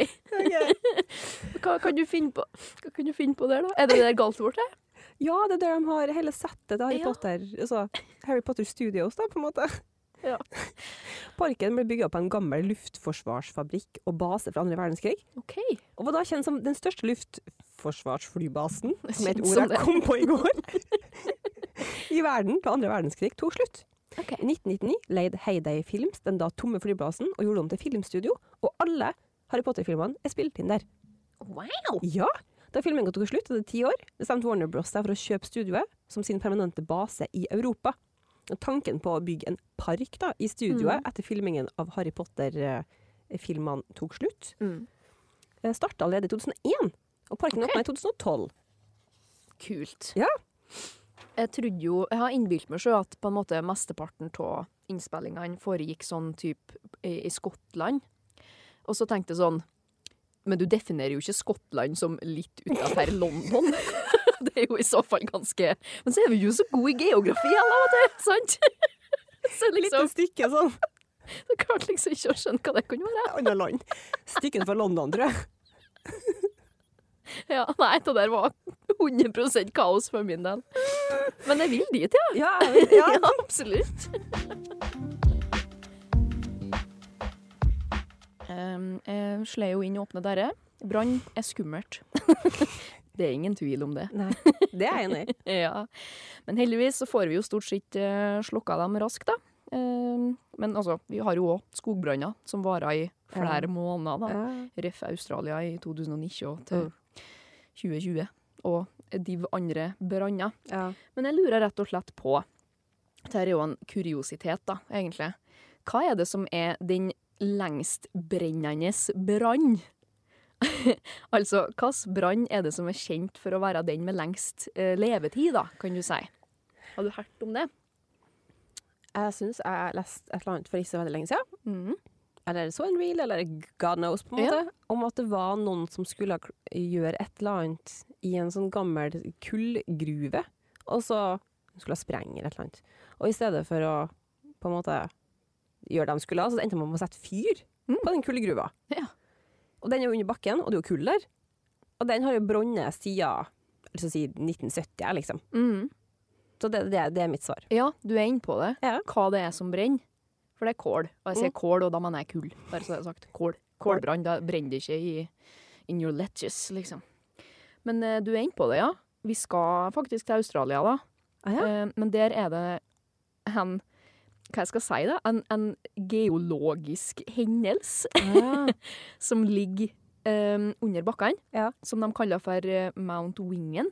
[SPEAKER 3] Hva kan du finne på, Hva kan du finne på der, da? Er det der galt borte?
[SPEAKER 2] Ja, det er der de har hele settet til Harry
[SPEAKER 3] Ja.
[SPEAKER 2] Potter. Altså, Harry Potter Studios, da, på en måte.
[SPEAKER 3] Ja.
[SPEAKER 2] [laughs] Parken ble bygget opp av en gammel luftforsvarsfabrikk og base fra andre verdenskrig,
[SPEAKER 3] OK.
[SPEAKER 2] og var da kjent som den største
[SPEAKER 3] [laughs]
[SPEAKER 2] luftforsvarsflybasen, som er et
[SPEAKER 3] Kjent
[SPEAKER 2] ord
[SPEAKER 3] som
[SPEAKER 2] jeg
[SPEAKER 3] det.
[SPEAKER 2] kom på i går, [laughs] i verden da andre verdenskrig tok slutt.
[SPEAKER 3] Ok.
[SPEAKER 2] I 1999 leide Heyday Films den da tomme flyplassen og gjorde om til filmstudio, og alle Harry Potter-filmene er spilt inn der.
[SPEAKER 3] Wow.
[SPEAKER 2] Ja, Da filmen tok slutt, etter ti år, bestemte Warner Bros. seg for å kjøpe studioet som sin permanente base i Europa. Og Tanken på å bygge en park da, i studioet etter filmingen av Harry Potter-filmene tok slutt,
[SPEAKER 3] Mm.
[SPEAKER 2] eh, starta allerede i 2001. Og parken
[SPEAKER 3] Ok.
[SPEAKER 2] åpna i 2012.
[SPEAKER 3] Kult.
[SPEAKER 2] Ja.
[SPEAKER 3] Jeg trodde jo, jeg har innbilt meg sjøl at på en måte mesteparten av innspillingene foregikk sånn type i, i Skottland. Og så tenkte jeg sånn Men du definerer jo ikke Skottland som litt utafor London. [laughs] det er jo i så fall ganske Men så er vi jo så gode i geografi, alle av og til, sant? [laughs] så liksom,
[SPEAKER 2] stykke sånn.
[SPEAKER 3] så klarte liksom ikke å skjønne hva det kunne være.
[SPEAKER 2] Annet land. Stykken fra London, tror [laughs] jeg.
[SPEAKER 3] Ja, Nei, det der var 100 kaos for min del. Men jeg vil dit, ja.
[SPEAKER 2] Ja,
[SPEAKER 3] ja absolutt. jeg slår jo inn åpne dører. Brann er skummelt. [laughs] det er ingen tvil om det.
[SPEAKER 2] Nei, det er jeg enig i.
[SPEAKER 3] Ja. Men heldigvis så får vi jo stort sett eh, slukka dem raskt, da. Eh, men altså, vi har jo òg skogbranner som varer i flere måneder. da. Ref. Australia i 2019 og til
[SPEAKER 2] Mm.
[SPEAKER 3] 2020. Og div andre branner.
[SPEAKER 2] Ja.
[SPEAKER 3] Men jeg lurer rett og slett på Dette er jo en kuriositet, da, egentlig. Hva er det som er den lengstbrennende brann? [laughs] altså, hvilken brann er det som er kjent for å være den med lengst eh, levetid, da, kan du si? Har du hørt om det?
[SPEAKER 2] Jeg syns jeg leste et eller annet for ikke så veldig lenge siden.
[SPEAKER 3] Mm.
[SPEAKER 2] Eller så en reel, eller god knows, på en
[SPEAKER 3] Ja.
[SPEAKER 2] måte. Om at det var noen som skulle ha kl- gjøre et eller annet i en sånn gammel kullgruve. Og så skulle ha sprenge eller et eller annet. Og i stedet for å på en måte gjøre det de skulle, så endte man med å sette fyr
[SPEAKER 3] Mm.
[SPEAKER 2] på den kullgruva.
[SPEAKER 3] Ja.
[SPEAKER 2] Og den er jo under bakken, og det er jo kull der. Og den har jo brunnet siden altså si 1970, liksom.
[SPEAKER 3] Mhm.
[SPEAKER 2] Så det, det, det er mitt svar.
[SPEAKER 3] Ja, du er inne på det.
[SPEAKER 2] Ja. Mm.
[SPEAKER 3] Hva det er som brenner. For det er kål. Og jeg sier kål, og da mener jeg kull. Bare så det er sagt. Kål. Kålbrann. Da brenner det ikke i in your letches, liksom. Men eh, du er inne på det, ja. Vi skal faktisk til Australia, da.
[SPEAKER 2] Ah, ja.
[SPEAKER 3] Eh, men der er det en Hva jeg skal si, da? En, en geologisk hendelse [laughs] Ah. som ligger eh, under bakkene,
[SPEAKER 2] Ja.
[SPEAKER 3] som de kaller for eh, Mount Wingen.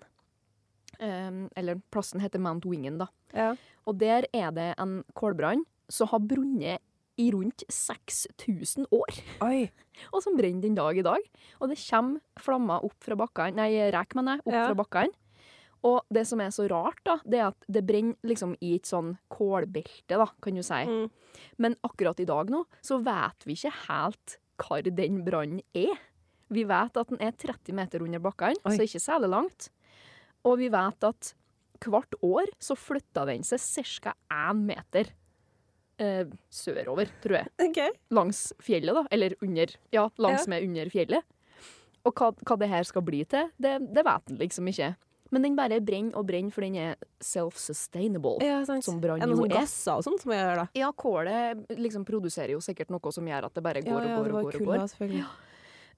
[SPEAKER 3] Eh, eller plassen heter Mount Wingen, da.
[SPEAKER 2] [laughs] ja.
[SPEAKER 3] Og der er det en kålbrann som har brunnet i rundt 6000 år,
[SPEAKER 2] Oi.
[SPEAKER 3] og som brenner den dag i dag. Og det kommer flammer opp fra bakkene, nei, rek mener jeg, opp
[SPEAKER 2] Ja.
[SPEAKER 3] fra bakkene. Og det som er så rart, da, det er at det brenner liksom i et sånn kålbelte, da, kan du si.
[SPEAKER 2] Mm.
[SPEAKER 3] Men akkurat i dag nå, så vet vi ikke helt hvor den brannen er. Vi vet at den er 30 meter under bakkene,
[SPEAKER 2] Oi.
[SPEAKER 3] så ikke særlig langt. Og vi vet at hvert år så flytta den seg ca. én meter eh, sørover, tror jeg.
[SPEAKER 2] Ok.
[SPEAKER 3] Langs fjellet, da. Eller under. Ja, langs med under fjellet. Og hva, hva det her skal bli til, det, det vet den liksom ikke. Men den bare brenner og brenner, for den er self-sustainable.
[SPEAKER 2] Ja, sant.
[SPEAKER 3] Som
[SPEAKER 2] Er
[SPEAKER 3] brann
[SPEAKER 2] det
[SPEAKER 3] jo
[SPEAKER 2] noen sånn
[SPEAKER 3] er.
[SPEAKER 2] gasser og sånt som jeg gjør da?
[SPEAKER 3] Ja, kålet liksom produserer jo sikkert noe som gjør at det bare går og går. og går, og går.
[SPEAKER 2] selvfølgelig.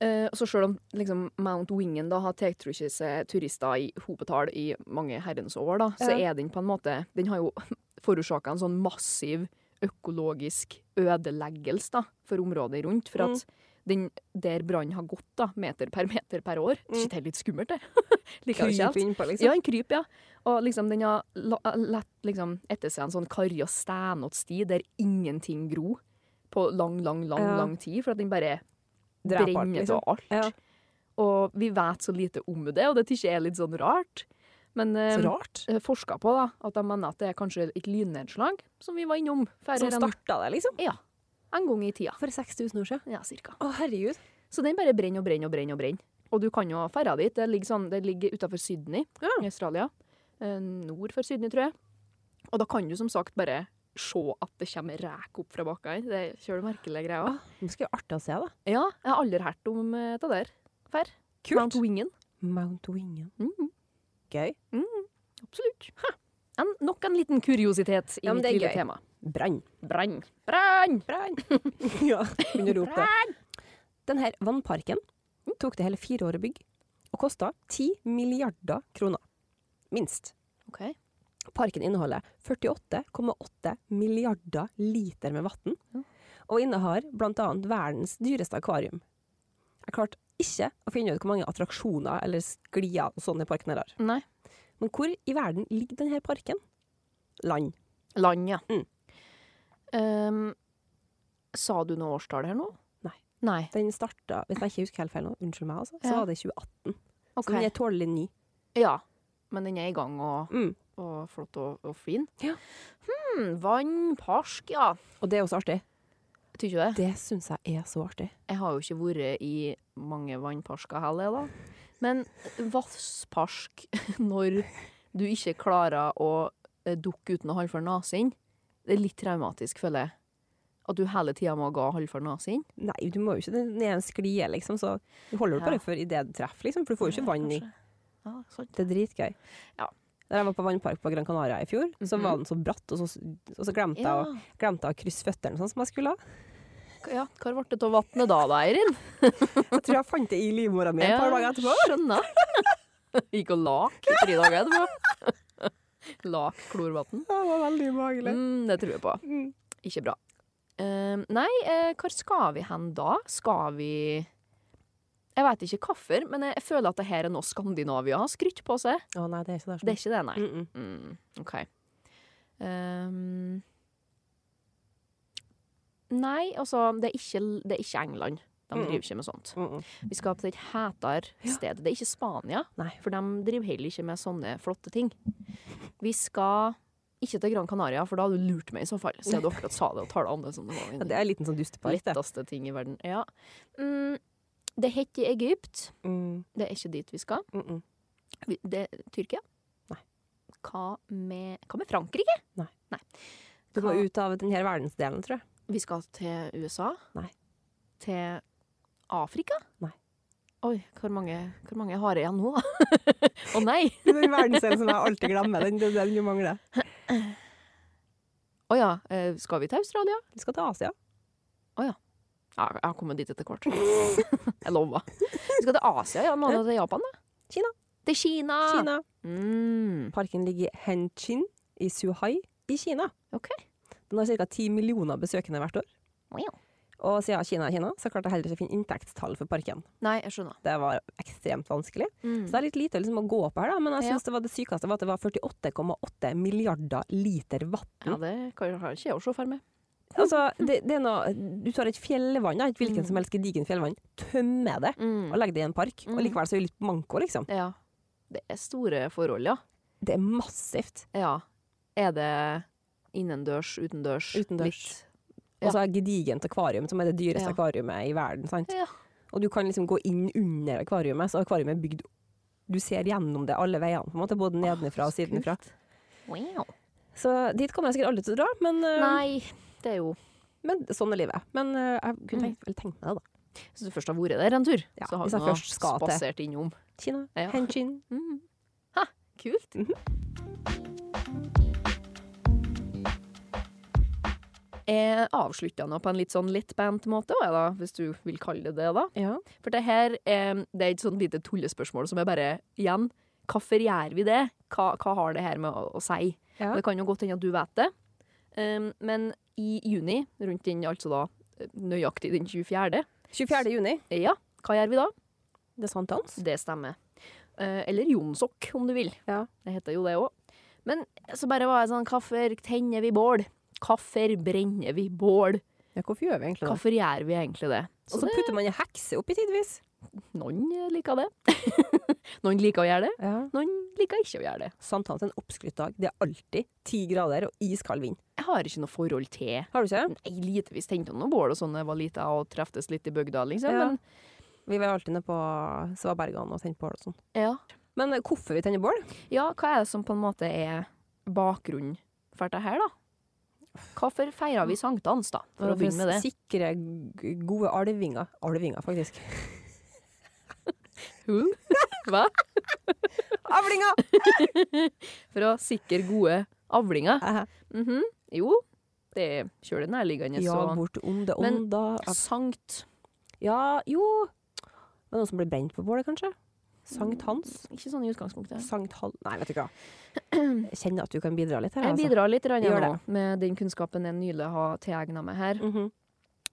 [SPEAKER 3] Eh, så selv om liksom, Mount Wingen da, har tiltrukket seg turister i hopetall i mange herrens år, da, så
[SPEAKER 2] Ja.
[SPEAKER 3] er den på en måte Den har jo [laughs] forårsaka en sånn massiv økologisk ødeleggelse da, for området rundt. For
[SPEAKER 2] Mm.
[SPEAKER 3] at den der brannen har gått, da, meter per meter per år
[SPEAKER 2] Mm.
[SPEAKER 3] Shit, det er litt skummelt, det. Liker jeg ikke helt.
[SPEAKER 2] Kryper innpå,
[SPEAKER 3] Ja,
[SPEAKER 2] liksom.
[SPEAKER 3] en kryp, ja. Og liksom, den har la- lett liksom, etter seg en sånn karri- og steinått-sti der ingenting gro på lang, lang, lang,
[SPEAKER 2] Ja.
[SPEAKER 3] lang tid, for at den bare
[SPEAKER 2] Dreper alt,
[SPEAKER 3] brenner
[SPEAKER 2] liksom.
[SPEAKER 3] av alt.
[SPEAKER 2] Ja.
[SPEAKER 3] Og vi vet så lite om det, og det tykker jeg er litt sånn rart. Men eh,
[SPEAKER 2] Så rart.
[SPEAKER 3] eh, forska på da, at de mener at det er kanskje et lynnedslag, som vi var innom. færre
[SPEAKER 2] Som
[SPEAKER 3] enn-
[SPEAKER 2] starta det, liksom.
[SPEAKER 3] Ja. En gang i tida.
[SPEAKER 2] For 6000 år siden.
[SPEAKER 3] Ja, cirka.
[SPEAKER 2] Å, herregud.
[SPEAKER 3] Så den bare brenner og brenner og brenner. Og brenner. Og du kan jo ferde dit. Det ligger, sånn, det ligger utenfor Sydney
[SPEAKER 2] Ja.
[SPEAKER 3] i Australia. Eh, Nord for Sydney, tror jeg. Og da kan du som sagt bare se at det kommer rek opp fra bakkene. Det er kjølig merkelige greier.
[SPEAKER 2] Det skal jo artig å se, da.
[SPEAKER 3] Ja, jeg har aldri hørt om eh, det der. Før.
[SPEAKER 2] Kult.
[SPEAKER 3] Mount Wingen.
[SPEAKER 2] Mount Wingen.
[SPEAKER 3] Mhm,
[SPEAKER 2] Gøy.
[SPEAKER 3] absolutt. Hæ. En, nok en liten kuriositet i
[SPEAKER 2] Ja, men
[SPEAKER 3] mitt
[SPEAKER 2] det er
[SPEAKER 3] lille
[SPEAKER 2] gøy.
[SPEAKER 3] tema.
[SPEAKER 2] Brann.
[SPEAKER 3] Brann. Brann!
[SPEAKER 2] Brann! [laughs] ja, begynner å rope det. Denne vannparken tok det hele fire år å bygge, og kosta 10 milliarder kroner. Minst.
[SPEAKER 3] Ok.
[SPEAKER 2] Parken inneholder 48,8 milliarder liter med vann, og innehar bl.a. verdens dyreste akvarium. Jeg klarte ikke å finne ut hvor mange attraksjoner eller sklier og sånne parken her har.
[SPEAKER 3] Nei.
[SPEAKER 2] Men hvor i verden ligger denne parken? Land.
[SPEAKER 3] Land, ja.
[SPEAKER 2] Mm.
[SPEAKER 3] Ehm, sa du noe årstall her nå?
[SPEAKER 2] Nei.
[SPEAKER 3] Nei,
[SPEAKER 2] Den starta, hvis jeg ikke husker helt feil nå, unnskyld meg, altså, så
[SPEAKER 3] Ja.
[SPEAKER 2] var det i 2018.
[SPEAKER 3] ok.
[SPEAKER 2] Så den er tålelig ny.
[SPEAKER 3] Ja, men den er i gang og,
[SPEAKER 2] Mm.
[SPEAKER 3] og flott og, og fin.
[SPEAKER 2] Ja.
[SPEAKER 3] Hmm, vann, parsk, ja.
[SPEAKER 2] Og det er også artig.
[SPEAKER 3] Tykker du det?
[SPEAKER 2] Det syns jeg er så artig.
[SPEAKER 3] Jeg har jo ikke vært i mange vannparsker heller, da. Men vassparsk [laughs] når du ikke klarer å eh, dukke uten å holde for nesen, det er litt traumatisk, føler jeg. At du hele tida må gå og holde for nesen.
[SPEAKER 2] Nei, du må jo ikke den er en sklie, liksom, så du holder det
[SPEAKER 3] Ja.
[SPEAKER 2] bare for idet du treffer, liksom, for du får jo ikke vann i.
[SPEAKER 3] Ja, sant.
[SPEAKER 2] Det er dritgøy.
[SPEAKER 3] Ja.
[SPEAKER 2] Da jeg var på vannpark på Gran Canaria i fjor, så
[SPEAKER 3] Mhm.
[SPEAKER 2] var den så bratt, og så, og så glemte, jeg, å- glemte jeg å krysse føttene sånn som jeg skulle.
[SPEAKER 3] Ja, hva ble det av vannet da, da, Eirin?
[SPEAKER 2] Jeg tror jeg fant det i livmora mi et par dager etterpå.
[SPEAKER 3] Skjønner. [laughs] Gikk og lak i tre dager etterpå. [laughs] Lak klorvann.
[SPEAKER 2] Det var veldig ubehagelig.
[SPEAKER 3] Mm, det tror jeg på.
[SPEAKER 2] Mm.
[SPEAKER 3] Ikke bra. Ehm, nei, eh, hvor skal vi hen da? Skal vi Jeg veit ikke hvorfor, men jeg, jeg føler at det her er noe Skandinavia har skrytt på seg.
[SPEAKER 2] Å nei, det er ikke det.
[SPEAKER 3] Det er ikke det, nei.
[SPEAKER 2] Mm -mm.
[SPEAKER 3] Mm, OK. Ehm, nei, altså, det er ikke, det er ikke England. De
[SPEAKER 2] Mm.
[SPEAKER 3] driver ikke med sånt.
[SPEAKER 2] Mm -mm.
[SPEAKER 3] Vi skal til et hetere
[SPEAKER 2] Ja.
[SPEAKER 3] sted. Det er ikke Spania,
[SPEAKER 2] Nei.
[SPEAKER 3] for de driver heller ikke med sånne flotte ting. Vi skal ikke til Gran Canaria, for da hadde du lurt meg i så fall. Siden du akkurat sa det og tala om det som det var
[SPEAKER 2] Ja,
[SPEAKER 3] en
[SPEAKER 2] det er en liten sånn dustepark, det.
[SPEAKER 3] letteste ting i verden. Ja. Mm, det heter Egypt.
[SPEAKER 2] Mm
[SPEAKER 3] Det er ikke dit vi skal.
[SPEAKER 2] -mm.
[SPEAKER 3] Vi, det Tyrkia?
[SPEAKER 2] Nei.
[SPEAKER 3] Hva med, hva med Frankrike?
[SPEAKER 2] Du må
[SPEAKER 3] Hva-
[SPEAKER 2] ut av denne verdensdelen, tror jeg. [laughs]
[SPEAKER 3] Vi skal til USA?
[SPEAKER 2] Nei.
[SPEAKER 3] Til Afrika?
[SPEAKER 2] Nei.
[SPEAKER 3] Oi, hvor mange, hvor mange har jeg igjen nå? [laughs] da? Å nei!
[SPEAKER 2] Det er den verdensdelen som jeg alltid glemmer. Den, den, den du mangler.
[SPEAKER 3] Å ja, eh, skal vi til Australia?
[SPEAKER 2] Du skal til Asia.
[SPEAKER 3] Ja, jeg har kommet dit etter hvert. [laughs] jeg lover. Vi skal til Asia, ja. Noen til Japan, da?
[SPEAKER 2] Kina.
[SPEAKER 3] Til Kina!
[SPEAKER 2] Kina.
[SPEAKER 3] Mm.
[SPEAKER 2] Parken ligger i Henchin i Suhai i Kina.
[SPEAKER 3] Ok.
[SPEAKER 2] Den har ca. 10 millioner besøkende hvert år.
[SPEAKER 3] Wow.
[SPEAKER 2] Og siden Kina er Kina, så klarte jeg heller ikke å finne inntektstall for parken.
[SPEAKER 3] Nei, jeg skjønner.
[SPEAKER 2] Det var ekstremt vanskelig.
[SPEAKER 3] Mm.
[SPEAKER 2] Så det er litt lite liksom, å gå på her, da, men jeg
[SPEAKER 3] Ja.
[SPEAKER 2] synes det var det sykeste var at det var 48,8 milliarder liter vann.
[SPEAKER 3] Ja, det kan jeg har ikke jeg å se for meg.
[SPEAKER 2] Altså, det, det er noe, du tar et fjellvann, da, et hvilken som helst gedigen fjellvann, tømmer det og legger det i en park, og
[SPEAKER 3] Mm.
[SPEAKER 2] likevel så er det litt manko, liksom.
[SPEAKER 3] Ja. Det er store forhold, ja.
[SPEAKER 2] Det er massivt.
[SPEAKER 3] ja. Er det innendørs, utendørs?
[SPEAKER 2] Utendørs.
[SPEAKER 3] Ja.
[SPEAKER 2] Og så er Altså, gedigent akvarium, som er det dyreste
[SPEAKER 3] Ja.
[SPEAKER 2] akvariumet i verden. sant?
[SPEAKER 3] Litt? Ja.
[SPEAKER 2] Og du kan liksom gå inn under akvariumet, så akvariumet er bygd Du ser gjennom det alle veiene, på en måte, både nedenfra og sidenfra.
[SPEAKER 3] Wow.
[SPEAKER 2] Så dit kommer jeg sikkert aldri til å dra, men, øh,
[SPEAKER 3] Nei, det er jo
[SPEAKER 2] men sånn er livet. Men øh, jeg kunne tenkt, vel tenkt meg det, da.
[SPEAKER 3] Hvis du først har vært der en tur,
[SPEAKER 2] Ja,
[SPEAKER 3] så har
[SPEAKER 2] hvis
[SPEAKER 3] du
[SPEAKER 2] jeg
[SPEAKER 3] nå
[SPEAKER 2] først skal til.
[SPEAKER 3] spasert innom.
[SPEAKER 2] Kina,
[SPEAKER 3] Ja.
[SPEAKER 2] Henchin.
[SPEAKER 3] Mm. Ha, kult. Eh, Jeg avslutta nå på en litt sånn lettbent måte, også, jeg da, hvis du vil kalle det det. da.
[SPEAKER 2] Ja.
[SPEAKER 3] For det her eh, det er et sånn lite tullespørsmål som er bare igjen. Hvorfor gjør vi det? Hva, hva har det her med å, å si?
[SPEAKER 2] Ja.
[SPEAKER 3] Det kan jo godt hende at du vet det. Um, men i juni, rundt den altså da nøyaktig den 24.,
[SPEAKER 2] 24. juni.
[SPEAKER 3] eh, ja, hva gjør vi da?
[SPEAKER 2] Det er sankthans.
[SPEAKER 3] Det stemmer. Eh, eller Jonsok, om du vil.
[SPEAKER 2] Ja.
[SPEAKER 3] Det heter jo det òg. Men så bare var jeg sånn Hvorfor tenner vi bål? Hvorfor brenner vi bål?
[SPEAKER 2] Ja, hvorfor gjør vi egentlig det?
[SPEAKER 3] Hvorfor gjør vi egentlig det?
[SPEAKER 2] Og så
[SPEAKER 3] det-
[SPEAKER 2] putter man en hekse oppi tidvis.
[SPEAKER 3] Noen eh, liker det. [laughs] noen liker å gjøre det,
[SPEAKER 2] Ja.
[SPEAKER 3] noen liker ikke å gjøre det.
[SPEAKER 2] Sankthans er en oppskrytt dag. Det er alltid ti grader og iskald vind.
[SPEAKER 3] Jeg har ikke noe forhold til
[SPEAKER 2] Har du ikke?
[SPEAKER 3] Nei, lite visst tenkte jeg noe bål og sånn da jeg var lita og treftes litt i bygda, liksom.
[SPEAKER 2] Ja.
[SPEAKER 3] Men
[SPEAKER 2] Vi var alltid nede på Svabergan og tente bål og sånn.
[SPEAKER 3] ja.
[SPEAKER 2] Men øh, hvorfor vi tenner bål?
[SPEAKER 3] ja, hva er det som på en måte er bakgrunnen for dette her, da? Hvorfor feirer vi sankthans, da? For å begynne med det.
[SPEAKER 2] Sikre g- gode arvinger. Arvinger, faktisk.
[SPEAKER 3] [laughs] Who?
[SPEAKER 2] [laughs]
[SPEAKER 3] Hva?
[SPEAKER 2] Avlinger!
[SPEAKER 3] For å sikre gode avlinger.
[SPEAKER 2] Aha.
[SPEAKER 3] Mhm. Jo, det kjører det nærliggende,
[SPEAKER 2] Jag
[SPEAKER 3] så
[SPEAKER 2] bort onde
[SPEAKER 3] Men-
[SPEAKER 2] onda.
[SPEAKER 3] Sankt
[SPEAKER 2] Ja, jo Det var noen som ble brent på bålet, kanskje? Sankt Hans?
[SPEAKER 3] Ikke sånn i utgangspunktet.
[SPEAKER 2] Sankt Hal... Nei, vet du
[SPEAKER 3] [clears throat]
[SPEAKER 2] hva. Jeg kjenner at du kan bidra litt her. altså.
[SPEAKER 3] Jeg bidrar litt rann
[SPEAKER 2] Gjør
[SPEAKER 3] nå med den kunnskapen jeg nylig har tilegna meg her.
[SPEAKER 2] Mhm.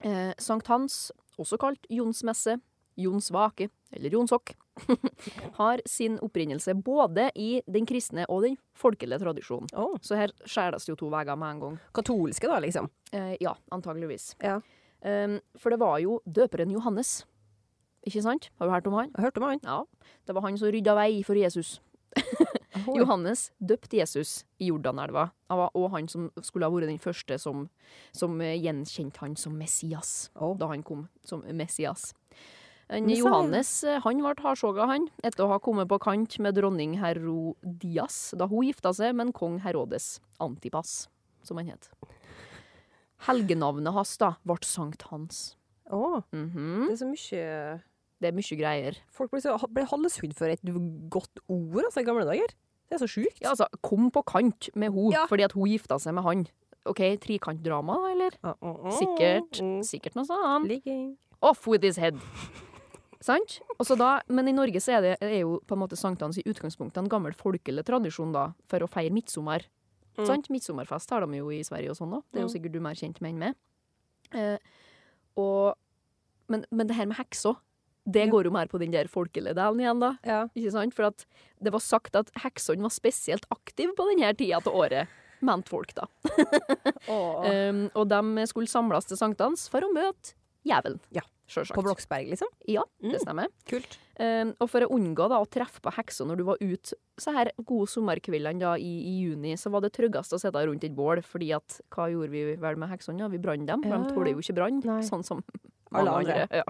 [SPEAKER 3] Eh, Sankt Hans, også kalt Jonsmesse, Jon Svake, eller Jon Sokk, [laughs] har sin opprinnelse både i den kristne og den folkelige tradisjonen.
[SPEAKER 2] Å,
[SPEAKER 3] Så her skjæres det jo to veier med en gang.
[SPEAKER 2] Katolske, da, liksom.
[SPEAKER 3] Eh, ja, antageligvis.
[SPEAKER 2] Ja.
[SPEAKER 3] Eh, for det var jo døperen Johannes. Ikke sant? Har du hørt om han?
[SPEAKER 2] Jeg hørte om han.
[SPEAKER 3] Ja. Det var han som rydda vei for Jesus. Johannes døpte Jesus i Jordanelva, Han var og han som skulle ha vært den første som, som eh, gjenkjente han som Messias,
[SPEAKER 2] Å.
[SPEAKER 3] da han kom som Messias. En
[SPEAKER 2] Messias.
[SPEAKER 3] Johannes eh, han ble hardsoga, han, etter å ha kommet på kant med dronning Herodias da hun gifta seg med en kong Herodes Antipas, som han het. Helgenavnet hans da ble Sankt Hans.
[SPEAKER 2] Å,
[SPEAKER 3] Mhm.
[SPEAKER 2] det er så mye
[SPEAKER 3] Det er mye greier.
[SPEAKER 2] Folk blir, så, blir halshugd for et godt ord altså, i gamle dager. Det er så sjukt.
[SPEAKER 3] Ja, altså, kom på kant med hun,
[SPEAKER 2] Ja.
[SPEAKER 3] fordi at hun gifta seg med han. OK, trikantdrama, da, eller?
[SPEAKER 2] Ah, ah, ah.
[SPEAKER 3] Sikkert.
[SPEAKER 2] Mm.
[SPEAKER 3] Sikkert noe sånt.
[SPEAKER 2] Ligging.
[SPEAKER 3] Off with his head! Sant? Og så da, men i Norge så er, det, er jo på en måte sankthans i utgangspunktet en gammel folkelig tradisjon da, for å feire midtsommer.
[SPEAKER 2] Mm.
[SPEAKER 3] Sant? Midtsommerfest har de jo i Sverige og sånn òg. Det er jo
[SPEAKER 2] Mm.
[SPEAKER 3] sikkert du mer kjent med enn meg. Eh, og, men, men det her med heksa, det
[SPEAKER 2] Ja.
[SPEAKER 3] går jo mer på den der folkelige delen igjen, da.
[SPEAKER 2] Ja.
[SPEAKER 3] Ikke sant? For at det var sagt at heksene var spesielt aktive på denne tida til året. Mente folk, da.
[SPEAKER 2] Eh,
[SPEAKER 3] Um, og de skulle samles til sankthans for å møte jævelen.
[SPEAKER 2] Ja.
[SPEAKER 3] Sjølsagt.
[SPEAKER 2] På Bloksberg, liksom.
[SPEAKER 3] Ja,
[SPEAKER 2] Mm.
[SPEAKER 3] det stemmer.
[SPEAKER 2] Kult.
[SPEAKER 3] Um, og for å unngå da, å treffe på hekser når du var ute så her gode sommerkveldene da, i, i juni, så var det tryggest å sitte rundt et bål, fordi at hva gjorde vi vel med heksene? Ja, vi brant dem.
[SPEAKER 2] Ja,
[SPEAKER 3] De tåler jo ikke brann,
[SPEAKER 2] Nei.
[SPEAKER 3] sånn som
[SPEAKER 2] Alle
[SPEAKER 3] mange andre.
[SPEAKER 2] andre.
[SPEAKER 3] Ja.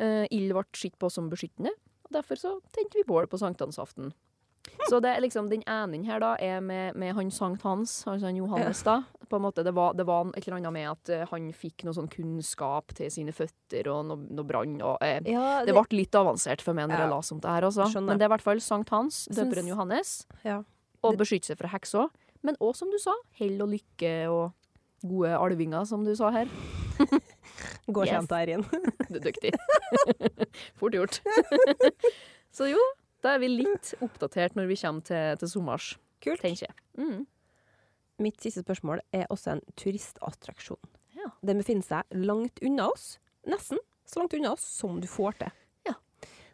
[SPEAKER 3] Eh, ild ble sett på som beskyttende, og derfor så tente vi bål på sankthansaften. Så det er liksom den ene her da er med, med han Sankt Hans, altså han Johannes da. På en måte, det var, det var et eller annet med at eh, han fikk noe sånn kunnskap til sine føtter og noe, noe brann og eh,
[SPEAKER 2] Ja,
[SPEAKER 3] det ble litt avansert for meg når jeg
[SPEAKER 2] Ja.
[SPEAKER 3] leste om det her. Også.
[SPEAKER 2] Skjønner.
[SPEAKER 3] Men det er i hvert fall Sankt Hans, døperen
[SPEAKER 2] Syns-
[SPEAKER 3] Johannes,
[SPEAKER 2] Ja.
[SPEAKER 3] og beskytter seg fra heksa. Men òg, som du sa, hell og lykke og gode alvinger, som du sa her.
[SPEAKER 2] Går
[SPEAKER 3] Yes.
[SPEAKER 2] kjent der inn.
[SPEAKER 3] Du er dyktig. Fort gjort. Så jo, da er vi litt oppdatert når vi kommer til, til sommers,
[SPEAKER 2] [laughs] Kult.
[SPEAKER 3] tenker jeg. Mm.
[SPEAKER 2] Mitt siste spørsmål er også en turistattraksjon.
[SPEAKER 3] Ja.
[SPEAKER 2] Den befinner seg langt unna oss, nesten så langt unna oss som du får til.
[SPEAKER 3] Ja.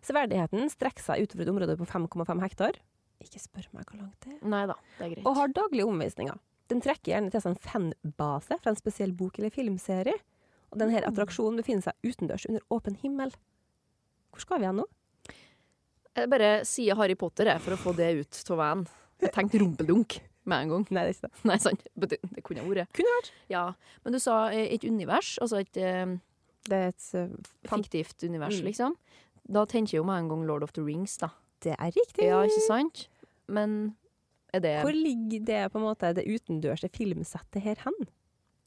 [SPEAKER 2] Severdigheten strekker seg utover et område på 5,5 hektar. Ikke spør meg hvor langt det er.
[SPEAKER 3] Nei da, det er greit.
[SPEAKER 2] Og har daglige omvisninger. Den trekker gjerne til seg en fanbase fra en spesiell bok eller filmserie. Og denne attraksjonen befinner seg utendørs under åpen himmel. Hvor skal vi hen nå?
[SPEAKER 3] Jeg bare sier Harry Potter jeg, for å få det ut av veien. Jeg tenkte rumpeldunk med en gang.
[SPEAKER 2] [laughs] Nei, det er ikke det.
[SPEAKER 3] Nei, sant. Men Det, det kunne vært.
[SPEAKER 2] Kunne vært.
[SPEAKER 3] Ja. Men du sa eh, et univers, altså et eh,
[SPEAKER 2] Det er et eh, Fan-
[SPEAKER 3] fiktivt univers,
[SPEAKER 2] Mm.
[SPEAKER 3] liksom. Da tenker jeg jo med en gang Lord of the Rings, da.
[SPEAKER 2] Det er riktig.
[SPEAKER 3] Ja, ikke sant? Men er det
[SPEAKER 2] Hvor ligger det på en måte det utendørse filmsettet her hen?